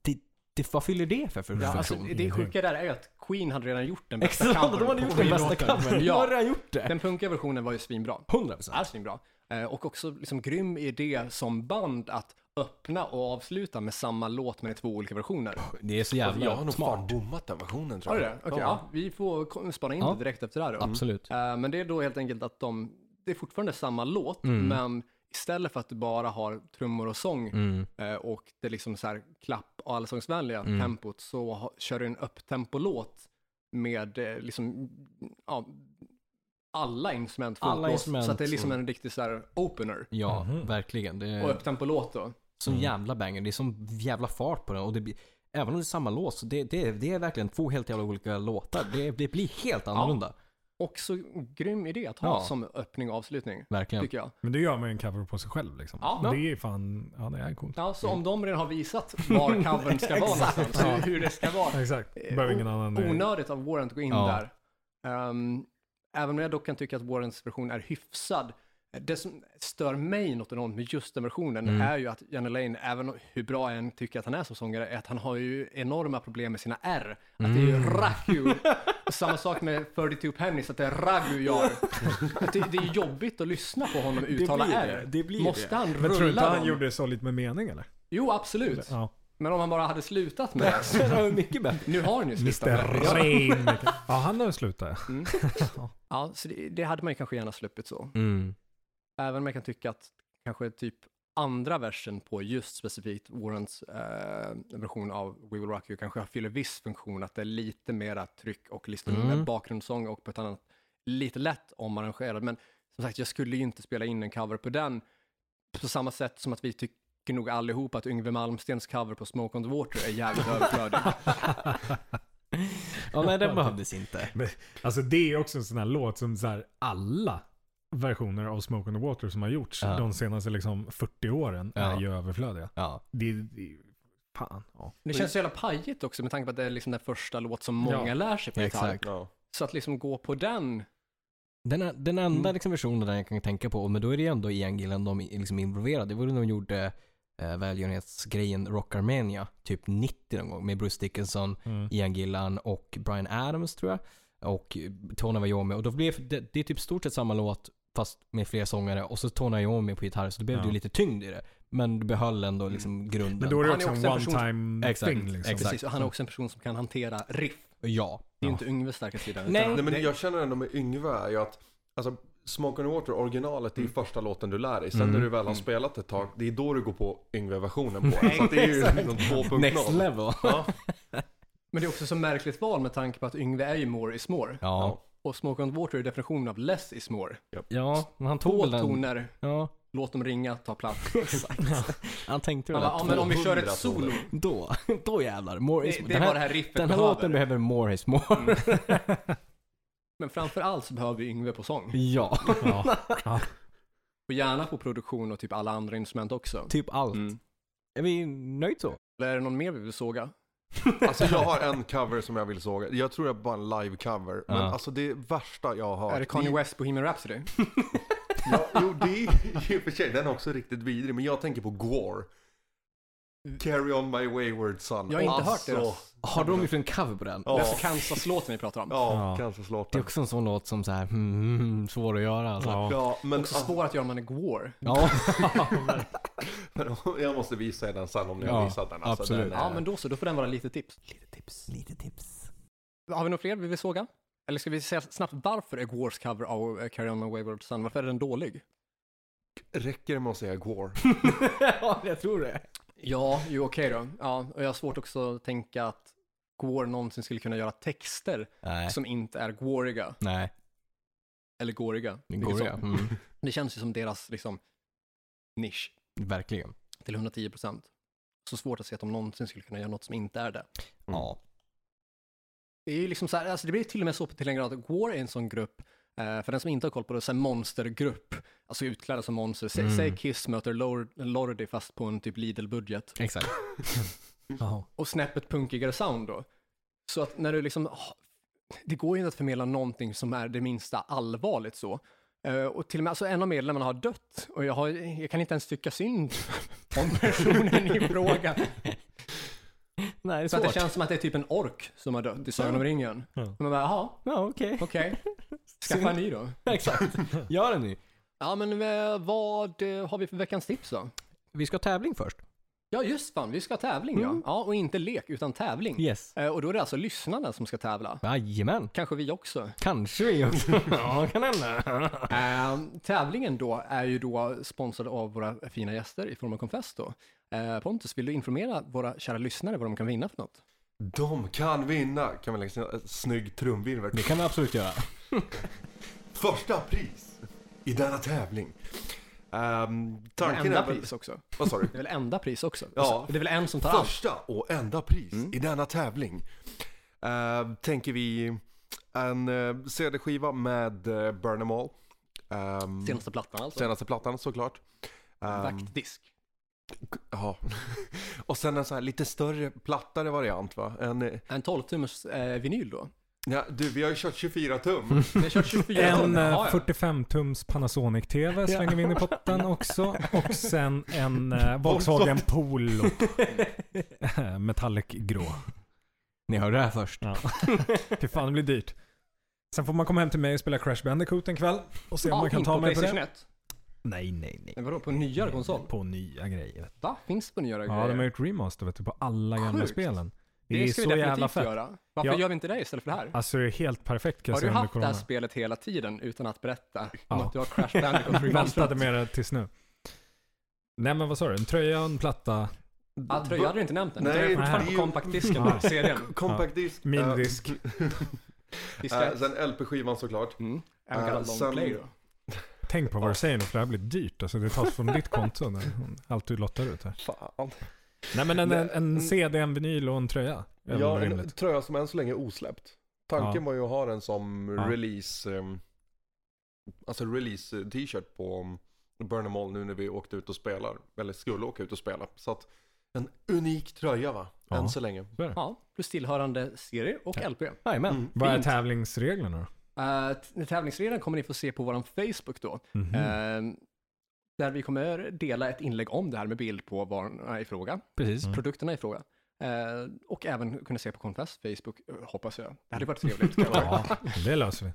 B: Det, det, vad fyller det för, för
A: Ja, alltså,
B: funktion?
A: det sjuka där är ju att Queen hade redan gjort den bästa
B: *laughs* Exakt,
A: covern
B: de hade
A: på
B: gjort den bästa
A: Queen-låten.
B: covern. De hade *laughs*
A: Ja,
B: redan gjort det.
A: den punkiga versionen var ju svinbra.
B: 100%.
A: är svinbra. Eh, Och också liksom grym idé som band att öppna och avsluta med samma låt men i två olika versioner.
B: Det är så
D: Alltså, jag
B: jävla
D: har nog fan
B: smart.
D: bommat den versionen tror
A: Har du
D: jag.
A: det? Okej, ja. vi får ko- spana in
B: Ja.
A: det direkt efter det här då.
B: Absolut.
A: Eh, Men det är då helt enkelt att de, det är fortfarande samma låt, men istället för att du bara har trummor och sång
B: Mm.
A: eh, och det är liksom så här klapp och allsångsvänliga tempot så ha, kör du en upptempolåt med eh, liksom, ja, alla instrument
B: Alla
A: folkblås.
B: instrument
A: Så att det är liksom
B: och-
A: en riktig så här opener.
B: Ja, verkligen. Det
A: Och upptempolåt då.
B: Som jävla banger. Det är som jävla fart på den. Och det blir, även om det är samma låt, så det, det, är- det är verkligen två helt jävla olika låtar. Det, det blir helt annorlunda.
A: Också grym idé att ha
B: Ja.
A: som öppning och avslutning,
B: Verkligen.
A: tycker jag.
C: Men det gör man ju en cover på sig själv liksom.
A: Ja.
C: Det är fan, ja det är coolt.
A: Ja, så om de redan har visat *laughs* var covern ska vara någonstans, hur- hur det ska vara.
C: Exakt.
A: Eh,
C: Behöver ingen
A: o-
C: annan.
A: Onödigt av Warrant att gå in
B: Ja.
A: där. Ehm, även om jag dock kan tycka att Warrants version är hyfsad. eh, Det som stör mig något enormt med just den versionen
B: Mm.
A: är ju att Janne Lane, även hur bra jag än tycker att han är som sångare, är att han har ju enorma problem med sina R. Att det är
B: Mm.
A: ju
B: *laughs*
A: ragu. Och samma sak med 32 Pennies, att det är ragu gör. Att det, det är jobbigt att lyssna på honom uttala
B: blir
A: R.
B: det, det blir
A: Måste
B: det.
A: han
C: Men tror du inte
A: rulla
C: han
A: dem?
C: gjorde det sorgligt med mening eller?
A: Jo, absolut.
C: Ja.
A: Men om han bara hade slutat
C: *laughs*
A: med det.
B: Det var mycket bättre.
A: Nu har han ju slutat med det.
C: Mr.
A: Ja.
C: Rain. Ja, han har slutat.
A: Ja, så det, det hade man ju kanske gärna sluppit så.
B: *laughs* Mm.
A: Även om jag kan tycka att kanske typ andra versen på just specifikt Warrants eh, version av We Will Rock You kanske fyller viss funktion, att det är lite mera tryck och lite
B: Mm.
A: mer bakgrundssång och på ett annat, lite lätt omarrangerad. Men som sagt, jag skulle ju inte spela in en cover på den på samma sätt som att vi tycker nog allihopa att Yngwie Malmstens cover på Smoke on the Water är jävligt
B: *laughs*
A: överflödig.
B: Ja, nej, det behövdes inte.
C: Alltså det är också en sån här låt som så här alla versioner av Smoke on the Water som har gjorts
B: Ja.
C: de senaste liksom 40 åren är
B: Ja.
C: ju överflödiga.
B: Ja.
C: Det, det, fan. Ja.
A: Det känns så jävla pajigt också med tanke på att det är liksom den första låt som många
C: Ja.
A: lär sig på
B: Ja,
A: gitarr.
B: exakt.
D: Ja.
A: Så att liksom gå på den,
B: Den, är- den enda
A: Mm.
B: liksom, versionen där jag kan tänka på, men då är det ju ändå Ian Gillan de är liksom involverade. Det var när de gjorde eh, välgörenhetsgrejen Rock Armenia, typ 90 någon gång, med Bruce Dickinson,
C: Mm.
B: Ian Gillan och Brian Adams tror jag. Och Tony Iommi. Och då blev det, det är typ stort sett samma låt fast med fler sångare och så Tony Iommi på gitarr. Så då blev det
C: Ja.
B: ju lite tyngd i det. Men du behöll ändå liksom grunden.
C: Men då är det
A: Han är också en
C: också, en
A: person-
C: one-time
B: Exakt,
C: thing. Liksom.
B: exakt.
A: precis, och han är också en person som kan hantera riff.
B: Ja.
A: Det är ju
C: Ja.
A: inte Yngves starka sida. utan-
B: Nej.
D: Nej men jag känner ändå med Yngve är ju att, alltså Smoke on the Water, originalet, det är ju första låten du lär dig. Sen
C: Mm.
D: när du väl har spelat ett tag, det är då du går på
B: *laughs*
D: Yngve-versionen på den. Så att det är ju liksom 2.0.
B: Next level.
D: Ja.
A: Men det är också så märkligt val med tanke på att Yngve är ju more is more.
B: Ja.
A: Och Smoke on the Water är definitionen av less is more.
B: Ja, men han tog
A: Två
B: väl den.
A: toner,
B: Ja,
A: låt dem ringa, ta plats.
B: *laughs* exakt. *laughs* Han tänkte väl
A: Han bara,
B: att
A: ja men om vi kör
D: 200
A: ett solo,
D: toner.
B: *laughs* då, då jävlar. More is
A: det,
B: more.
A: det är
B: Den här-
A: vad det här riffet
B: Den här
A: behöver.
B: låten behöver Mm. more is more.
A: Men framför allt så behöver vi Yngve på sång.
B: *laughs* ja,
C: Ja. Ja.
A: Och gärna på produktion och typ alla andra instrument också.
B: typ allt.
A: Mm.
B: Är vi nöjda *laughs* så?
A: Är det någon mer vi vill såga?
D: Alltså
B: *laughs*
D: jag har en cover som jag vill såga. Jag tror det är bara en live-cover. Men
B: Ja.
D: alltså det värsta jag har hört.
A: Är det Kanye
D: är-
A: West Bohemian Rhapsody?
D: Ja, jo, det är i och för sig, den är också riktigt vidrig. Men jag tänker på Gwar. Carry on my wayward son.
A: Jag har inte hört
D: alltså,
A: deras.
B: Har de gjort en cover på den?
A: Det
D: Ja.
A: är alltså Kansas-låten vi pratar om.
D: Ja,
C: Ja.
D: kanske slått
B: Det är
D: den.
B: också en sån låt som så här, hmm, hmm, svår att göra alltså. Ja.
C: Ja.
D: Ja, men
A: Också
D: *laughs*
A: svår att göra om man är Gwar.
B: Ja, *laughs*
D: alltså, jag måste visa er den sen om ni
B: Ja,
D: har visat den. Alltså,
B: absolut.
D: Den är...
A: Ja men då så, då får den vara lite tips.
B: Lite tips. Lite tips.
A: Har vi några fler vi vill såga? Eller ska vi säga snabbt varför är Gwars cover av eh, Carry On My Wayward Son, varför är den dålig?
D: Räcker det med att säga Gwar?
B: ja, jag tror det.
A: Ja, ju okej då. Ja, och jag har svårt också att tänka att Gwar någonsin skulle kunna göra texter
B: Nej,
A: som inte är gwariga,
B: nej.
A: eller goriga.
B: Det
A: vilket
B: går det.
A: som.
B: Mm.
A: Det känns ju som deras liksom, nisch
B: Verkligen.
A: till 110 procent. Så svårt att se att de någonsin skulle kunna göra något som inte är det.
B: Ja.
A: Det är ju liksom så här, alltså det blir till och med så till en grad att Gore är en sån grupp, eh, för den som inte har koll på det, så här monstergrupp, alltså utklädda som monster. Sä,
B: Mm.
A: Säg Kiss möter Lord- Lordi fast på en typ Lidl-budget.
B: *laughs* Exakt.
C: Ja.
A: Och snäppet punkigare sound då. Så att när du liksom, ah, det går ju inte att förmedla någonting som är det minsta allvarligt så. Eh, och till och med, alltså en av medlemmarna har dött och jag, har, jag kan inte ens tycka synd om personen i fråga.
B: Nej, det är
A: Så att
B: svårt.
A: det känns som att det är typ en ork som har dött i Sagan om ringen.
C: Ja.
A: Och man bara, jaha,
B: Ja, okej.
A: okej. Skaffa en ny då.
B: *laughs* Exakt. Gör det nu.
A: Ja, men eh, vad eh, har vi för veckans tips då?
B: Vi ska ha tävling först.
A: Ja, just fan, vi ska ha tävling ja.
B: Mm.
A: Ja, och inte lek, utan tävling.
B: Yes.
A: Eh, och då är det alltså lyssnarna som ska tävla.
B: Jajamän.
A: Kanske vi också.
B: Kanske vi också. *laughs* ja, kan hända.
A: Eh, tävlingen då är ju då sponsrad av våra fina gäster i form av Confess då. Eh, Pontus, vill du informera våra kära lyssnare vad de kan vinna för något?
D: De kan vinna! Kan man lägga sin snygg trumvirvel?
B: Det kan vi absolut *laughs* göra.
D: Första pris i denna tävling. Ehm,
A: Det är väl
D: tanken
A: enda
D: är väl...
A: pris också.
D: Vad sa du?
A: Det är väl enda pris också. Alltså,
D: Ja.
A: Det är väl en som tar allt.
D: *laughs* Första och enda pris
A: Mm.
D: i denna tävling. Ehm, tänker vi en eh, CD-skiva med uh, Burn 'em All. Ehm,
A: Senaste plattan alltså.
D: senaste plattan såklart. Ehm,
A: Vaktdisk.
D: ja. *laughs* och sen en sån här lite större, plattare variant va? En, eh,
A: En 12-tummers eh, vinyl då.
D: ja, du, vi har ju kört 24 tum.
A: Vi
C: *laughs*
A: har kört 24
C: En eh,
A: tum. Ja, ja.
C: 45-tums Panasonic-TV slänger vi in i *laughs* potten också. Och sen en eh, Volkswagen Polo. Eh, Metallic grå.
B: Ni hörde det här först.
C: Ja. Fy fan, det blir dyrt. Sen får man komma hem till mig och spela Crash Bandicoot en kväll. Och se om
A: Ja,
C: man kan
A: inte
C: ta
A: på
C: mig på
A: PlayStation
C: det.
A: 1.
C: Nej, nej, nej.
A: Men vadå, på nyare konsol?
C: På nya grejer.
A: Va? Finns det på nyare
C: Ja, de har gjort remaster vet du, på alla gamla
A: Sjukt.
C: spelen. Det,
A: Det,
C: är
A: ska vi
C: så jävla
A: definitivt
C: fett.
A: göra. Varför
C: Ja.
A: gör vi inte det istället för det här?
C: Alltså det är helt perfekt kan jag
A: har du
C: säga under
A: haft det här
C: corona.
A: spelet hela tiden utan att berätta om
C: Ja.
A: att du har Crash
C: *laughs*
A: Bandicoot
C: Väntade
A: *laughs* remasterat?
C: med det tills nu. Nej men vad sa du? En tröja och en platta.
A: Ja, tröja hade du inte nämnt än.
D: Nej,
A: Nej, det är fortfarande
D: det är
A: på
D: ju-
A: kompaktdisken,
C: Ja.
A: serien.
D: Compact disk. eh,
C: Minidisk.
A: Diskret.
D: eh, sen LP-skivan såklart.
A: Mm.
D: eh,
A: Även kallad long
D: sen-
A: play då.
C: Tänk på vad du säger nu för det här blir dyrt. Alltså det tas från ditt konto. När, allt du lottar ut här.
D: Fan.
C: Nej men en, en, en
A: Mm.
D: Men-
C: CD, en vinyl och en tröja. är väl
D: Ja, en
C: rimligt.
D: tröja som än så länge är osläppt. Tanken
C: Ja.
D: var ju att ha den som
C: Ja.
D: release, ehm, alltså release t-shirt på Burn 'em All nu när vi åkte ut och spelar. Eller skulle åka ut och spela. Så att en unik tröja va?
C: Ja.
D: Än så länge.
A: Ja, plus tillhörande serie och LP.
B: Jajamän.
D: Mm.
C: Vad är
A: Fint.
C: tävlingsreglerna då?
A: Uh, tävlingsredan kommer ni få se på vår Facebook då.
C: Mhm.
A: Eh, där vi kommer dela ett inlägg om det här med bild på varorna i fråga,
B: Precis.
A: produkterna i fråga. Eh, och även kunna se på Confess Facebook, eh, hoppas jag. Det hade varit
B: *laughs*
A: trevligt. kan jag lova.
C: Ja, det löser vi.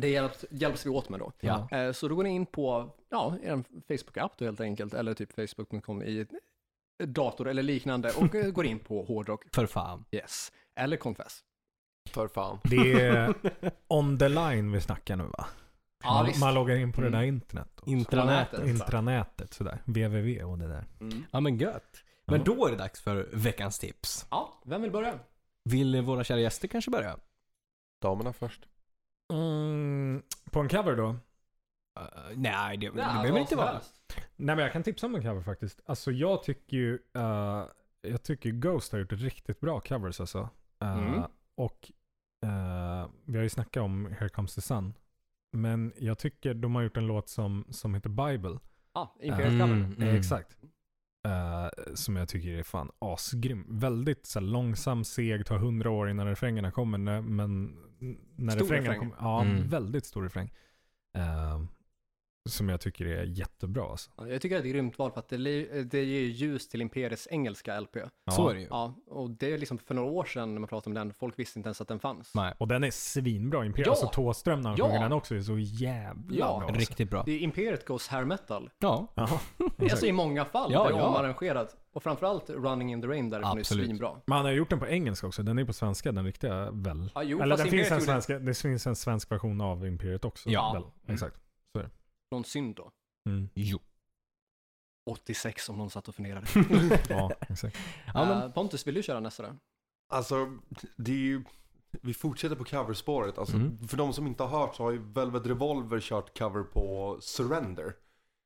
A: det hjälps, hjälps vi åt med då.
B: Ja.
A: Eh, så då går ni in på ja, er Facebook-app då helt enkelt, eller typ facebook.com i ett dator eller liknande och eh, går in på hårdrock,
B: För fan.
A: yes, eller Confess.
D: För fan.
C: Det
B: *laughs*
C: är on the line vi snackar nu va?
A: Ja,
C: man,
A: visst.
C: man loggar in på det
A: Mm.
C: där internet. Också.
B: Intranätet.
C: Intranätet sådär. www och det där.
A: Mm.
B: Ja men gött. Men
C: Ja.
B: då är det dags för veckans tips.
A: Ja, vem vill börja?
B: Vill våra kära gäster kanske börja?
D: Damerna först.
C: Mm, på en cover då?
B: Eh, nej, det, det
A: Ja, alltså,
B: behöver
A: vad
B: inte
A: som
B: vara.
A: helst.
C: Nej men jag kan tipsa om en cover faktiskt. Alltså jag tycker ju, eh, jag tycker Ghost har gjort riktigt bra covers alltså. Eh,
A: Mm.
C: Och eh, vi har ju snackat om Here Comes the Sun. Men jag tycker de har gjort en låt som, som heter Bible.
A: Ja, Imperial Cover.
C: Eh, Exakt. Eh, som jag tycker är fan asgrym. Väldigt så här, långsam, seg, tar hundra år innan refrängerna kommer. när- Men när
A: Stor
C: refrängerna
A: refräng.
C: kommer. Ja,
B: Mm.
C: väldigt stor refräng. Eh, som jag tycker är jättebra alltså.
A: Ja, Jag tycker att det är ett grymt val för att det, li- det ger ljus till Imperiets engelska LP.
B: Så
C: Ja.
B: är det ju.
A: Ja, och det är liksom för några år sedan när man pratade om den, folk visste inte ens att den fanns.
B: Nej.
C: Och den är svinbra. Imperial,
A: Ja!
C: alltså Thåström när han
A: Ja!
C: sjunger den också är så jävla
A: Ja,
C: bra. Alltså.
B: Riktigt bra.
A: Det är Imperiet Goes Hair Metal. *laughs*
B: Ja.
C: Ja,
A: Alltså i många fall,
B: Ja,
A: ja, det är
B: ja.
A: omarrangerat. Och framförallt Running in the Rain därifrån
B: Absolut.
A: är svinbra.
C: Men han har gjort den på engelska också. Den är på svenska, den riktiga väl?
A: Ja, jo,
C: Eller
A: fast
C: den finns
A: Imperiet
C: en
A: gjorde
C: svenska, det finns en svensk version av Imperiet också.
B: Ja.
C: Väl? Exakt.
A: någon synd då.
C: Mm.
B: Jo.
A: 86 om någon satt och funderade. *laughs*
C: Ja, exakt.
B: Ja, men-
A: Eh, Pontus, vill du köra nästa då?
D: Alltså, det är ju... Vi fortsätter på coverspåret. Alltså,
B: Mm.
D: För de som inte har hört så har ju Velvet Revolver kört cover på Surrender.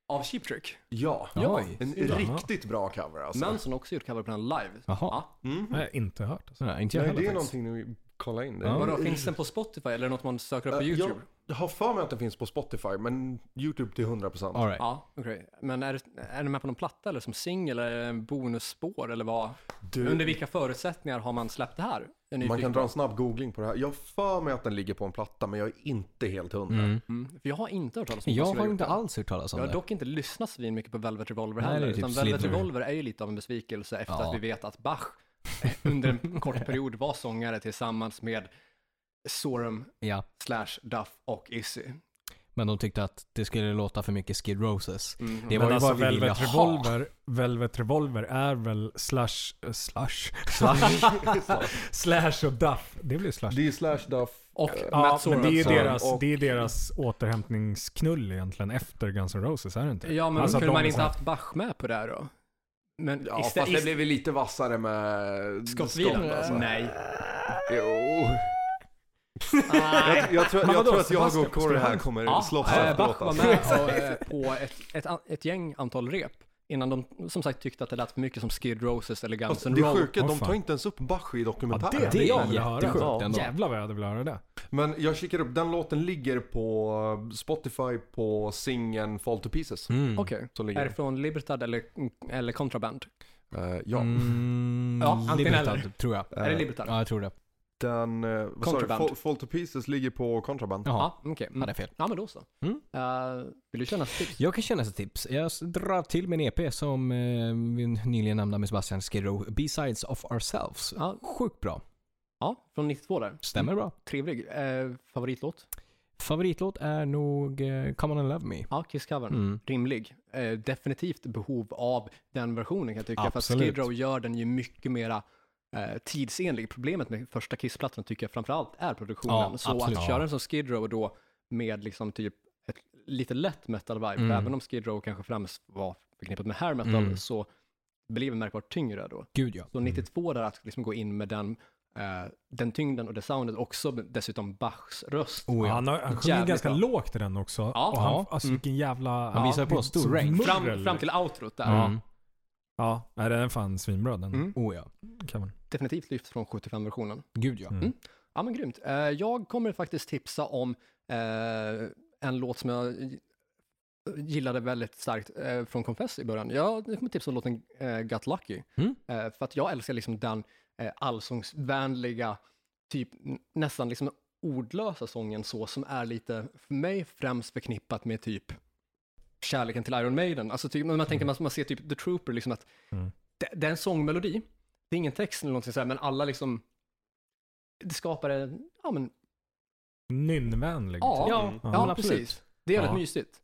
A: Av Cheap Trick.
D: Ja.
A: Ja.
B: Oj.
D: En
C: Ja.
D: riktigt bra cover alltså.
A: Manson har också gjort cover på den live.
B: Jaha.
A: Ja.
D: Mm.
C: Jag har inte hört. Alltså.
B: Nej, inte jag
D: Nej,
B: heller
D: det är
B: faktiskt.
D: någonting ni kolla in. Det
B: Ja.
D: är-
A: Vadå, finns den på Spotify eller är det något man söker upp på
D: Mm. Eh,
A: YouTube?
D: Jag har för mig att den finns på Spotify, men YouTube till 100%.
B: All right.
A: Ja, okej. Men är, det- är den med på någon platta eller som singel eller är det en bonusspår eller vad?
D: Du,
A: Under typ vilka förutsättningar har man släppt det här? Jag är
D: man kan
A: nyfiken.
D: dra en snabb googling på det här. Jag har för mig att den ligger på en platta, men jag är inte helt hundra.
B: Mm.
A: Mm, för jag har inte hört talas om att
B: Jag
A: man skulle
B: har
A: gjort
B: inte
A: det.
B: alls hört talas om
A: Jag har
B: det.
A: dock inte lyssnat så mycket på Velvet Revolver
B: Nej, det är
A: heller.
B: typ
A: utan Velvet
B: Slither.
A: Revolver är ju lite av en besvikelse efter
B: Ja.
A: att vi vet att Bach eh, under en kort period var sångare tillsammans med Sorum
B: Ja.
A: slash Duff och Izzy.
B: Men de tyckte att det skulle låta för mycket Skid Roses.
A: Mm.
B: Det var
C: Men
B: ju
C: alltså
B: vad vi ville
C: Velvet
B: ha.
C: Revolver, Velvet Revolver är väl slash, eh, slash,
B: Slash.
C: *laughs* slash och duff. Det blir slash.
D: Det är Slash Duff.
A: Och
C: Ja,
A: Matt
C: men det är ju
A: Sorum.
D: Sorum
C: deras,
D: och-
C: det är deras återhämtningsknull egentligen efter Guns N' Roses, är det inte?
A: Ja, men
C: Alltså,
A: kunde
C: de
A: man
C: är
A: inte
C: så här-
A: haft Bach med på det här då? Men
D: Ja,
A: istä-
D: fast det
A: ist-
D: blev ju lite vassare med
A: Skottvilan?
D: skott, alltså.
A: Nej.
D: Jo.
A: Nej.
D: Jag, jag tror,
C: Men
D: jag
C: vadå,
D: tror att jag
C: Sebastian,
D: och Corey här
C: Sebastian? Ah,
D: kommer
A: Ja,
D: slåss
A: eh, Bach
D: efteråt.
A: var
D: Alltså.
A: med och,
D: *laughs*
A: eh, på ett, ett, an- ett gäng antal rep innan de som sagt tyckte att det lät för mycket som Skid Roses eller Guns
D: Alltså,
A: N'
D: det är
A: Roses.
D: sjuka,
C: Åh,
D: de
C: fan.
D: tar inte ens upp Bach i
C: Ja,
D: dokumentären.
C: det, det jag vill höra.
B: jättesjukt
C: Ja,
B: ändå.
C: Jävlar vad jag hade velat höra det.
D: Men jag kikar upp, den låten ligger på Spotify på singeln Fall to Pieces.
B: Mm.
A: Okej.
D: Så
A: Är
D: ligger
A: det från Libertad eller, eller Contraband?
D: det. Eh, ja.
B: Mm,
A: Ja, antingen
B: Libertad,
A: eller.
B: tror jag.
A: Är det
D: Eh,
A: Libertad?
B: Ja, jag tror det.
D: Den, eh, vad sa du?
A: Contraband.
D: Fall, Fall to Pieces ligger på Contraband.
B: Jaha.
A: Ja, okej. Mm.
B: Hade jag fel.
A: Ja, men då så.
B: Mm.
A: Eh, vill du köra nästa tips?
B: Jag kan känna ett tips. Jag s- drar till med en EP som eh, vi nyligen nämnde med Sebastian Skidrow. Besides of ourselves.
A: Ja.
B: Sjukt bra.
A: Ja, från 92 där.
B: Stämmer bra.
A: Trevlig. Eh, favoritlåt?
B: Favoritlåt är nog eh, Come on and love me.
A: Ja, Kiss-covern.
B: Mm.
A: Rimlig. Eh, definitivt behov av den versionen kan jag tycka. För att
C: Absolut.
A: Skid Row gör den ju mycket mera eh, tidsenlig. Problemet med första Kiss-plattan tycker jag framförallt är produktionen.
B: Ja,
A: så
B: absolut.
A: att
B: Ja.
A: köra den som Skid Row då med liksom typ ett lite lätt metal-vibe,
B: Mm.
A: för även om Skid Row kanske främst var förknippat med hair metal,
B: Mm.
A: så blev den märkbart tyngre då.
B: Gud ja.
A: Så 92 där att liksom gå in med den, eh, den tyngden och det soundet också dessutom Bachs röst.
B: Oh, ja.
C: Han, har, han sjunger
A: Jävligt
C: ganska
A: bra.
C: lågt i den också.
A: Ja.
C: och han,
B: Ja.
C: Alltså
A: Mm.
C: vilken jävla...
B: Han visar
C: ja,
B: på
C: det är
B: stor
C: så
B: range.
A: Fram,
C: murrel.
A: fram till outrot där.
C: Ja.
B: Mm.
C: Ja, nej, den är fan svinbra den
A: Mm.
B: Oh ja.
C: covern.
A: Definitivt lyft från 75-versionen.
B: Gud ja.
C: Mm.
A: Ja men grymt. Eh, jag kommer faktiskt tipsa om eh, en låt som jag gillade väldigt starkt eh, från Confess i början. Ja, det kommer tips om låten eh, Got Lucky.
B: Mm.
A: Eh, för att jag älskar liksom den eh, allsångsvänliga, typ n- nästan liksom ordlösa sången så som är lite, för mig främst förknippat med typ kärleken till Iron Maiden. Alltså typ, man tänker, man, man ser typ The Trooper, liksom att
C: Mm.
A: det, det är en sångmelodi, det är ingen text eller någonting sådär, men alla liksom, det skapar en, ja men
C: Nynnvänlig.
A: Ja,
B: Ja,
D: Mm.
C: Mm. Ja,
A: ja,
B: men absolut.
A: precis. Det är väldigt
B: Ja.
A: mysigt.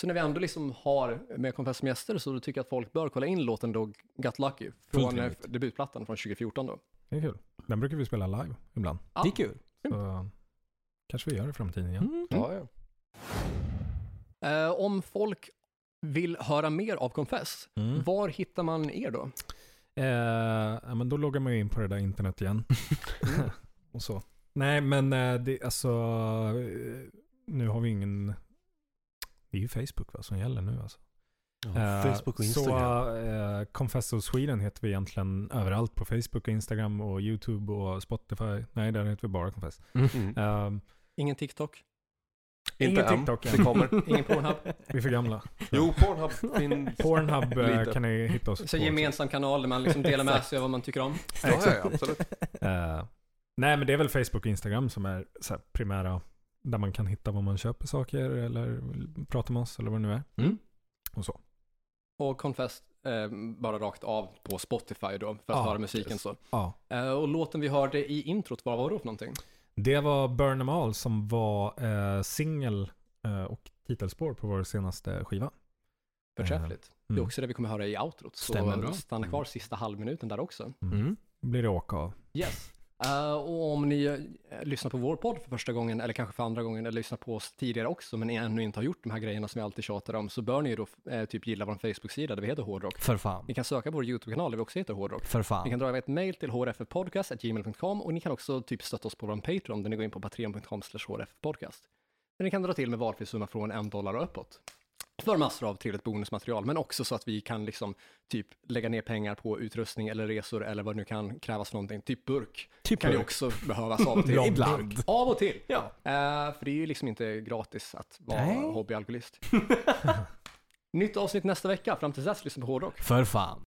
A: Så när vi ändå liksom har med Confess som gäster så då tycker jag att folk bör kolla in låten då Got Lucky
B: Fullt
A: från eh,
B: rimligt.
A: debutplattan från 2014 då.
C: Det är kul. Den brukar vi spela live ibland.
A: Ja.
B: Det är kul.
C: Så kanske vi gör det i framtiden igen.
B: Mm.
D: Ja, ja.
A: Eh, om folk vill höra mer av Confess,
C: Mm.
A: var hittar man er då?
C: Eh, ja, men då loggar man ju in på det där internet igen. och så. Nej, men eh, det, alltså, eh, nu har vi ingen... Det är ju Facebook va, som gäller nu alltså. Eh, Så eh, Confesso Sweden heter vi egentligen överallt på Facebook, och Instagram, och YouTube och Spotify. Nej, där heter vi bara Confess.
D: Mm.
C: Eh,
A: Ingen TikTok?
D: Inte
C: ingen
D: än.
C: TikTok än.
D: Det
B: *laughs*
D: kommer.
A: Ingen Pornhub?
C: Vi är för gamla.
D: Jo, Pornhub finns.
C: Pornhub eh,
D: Lite.
C: kan ni hitta oss
A: Så
C: på.
A: gemensam kanal där man liksom delar med sig av vad man tycker om?
D: Ja, ja, absolut.
C: Eh, nej, men det är väl Facebook och Instagram som är så här, primära. Där man kan hitta vad man köper saker eller prata med oss eller vad det nu är.
B: Mm.
C: Och så.
A: Och Confess eh, bara rakt av på Spotify då för att
C: Ja,
A: höra musiken så.
C: Ja.
A: Eh, och låten vi hörde i introt, vad var det för någonting?
C: Det var Burn 'em All som var eh, singel eh, och titelspår på vår senaste skiva.
A: Förträffligt. Det är
C: Mm.
A: också det vi kommer höra i outrot. Så
B: Stämmer bra.
A: stanna kvar sista halvminuten där också.
B: Mm.
C: Blir det åka av.
A: Yes. Eh, och om ni eh, lyssnar på vår podd för första gången, eller kanske för andra gången, eller lyssnar på oss tidigare också, men ännu inte har gjort de här grejerna som vi alltid tjatar om, så bör ni ju då eh, typ gilla vår Facebook-sida där vi heter Hårdrock.
B: För fan.
A: Ni kan söka på vår YouTube-kanal där vi också heter Hårdrock.
B: För
A: Ni
B: fan.
A: kan dra iväg ett mejl till hrfpodcast.gmail.com och ni kan också typ stötta oss på vår Patreon där ni går in på patreon.com slash hrfpodcast. Där ni kan dra till med valfri summa från en dollar och uppåt. För massor av trevligt bonusmaterial, men också så att vi kan liksom typ lägga ner pengar på utrustning eller resor eller vad det nu kan krävas för någonting. Typ burk
B: Typ
A: kan ju
B: burk.
A: också behövas av och till.
B: Ja,
A: Ibland.
B: burk.
A: Av och till.
B: Ja.
A: Eh, för det är ju liksom inte gratis att vara
B: Nej.
A: *laughs* hobbyalkoholist. Nytt avsnitt nästa vecka. Fram till dess, lyssna på hårdrock.
B: För fan.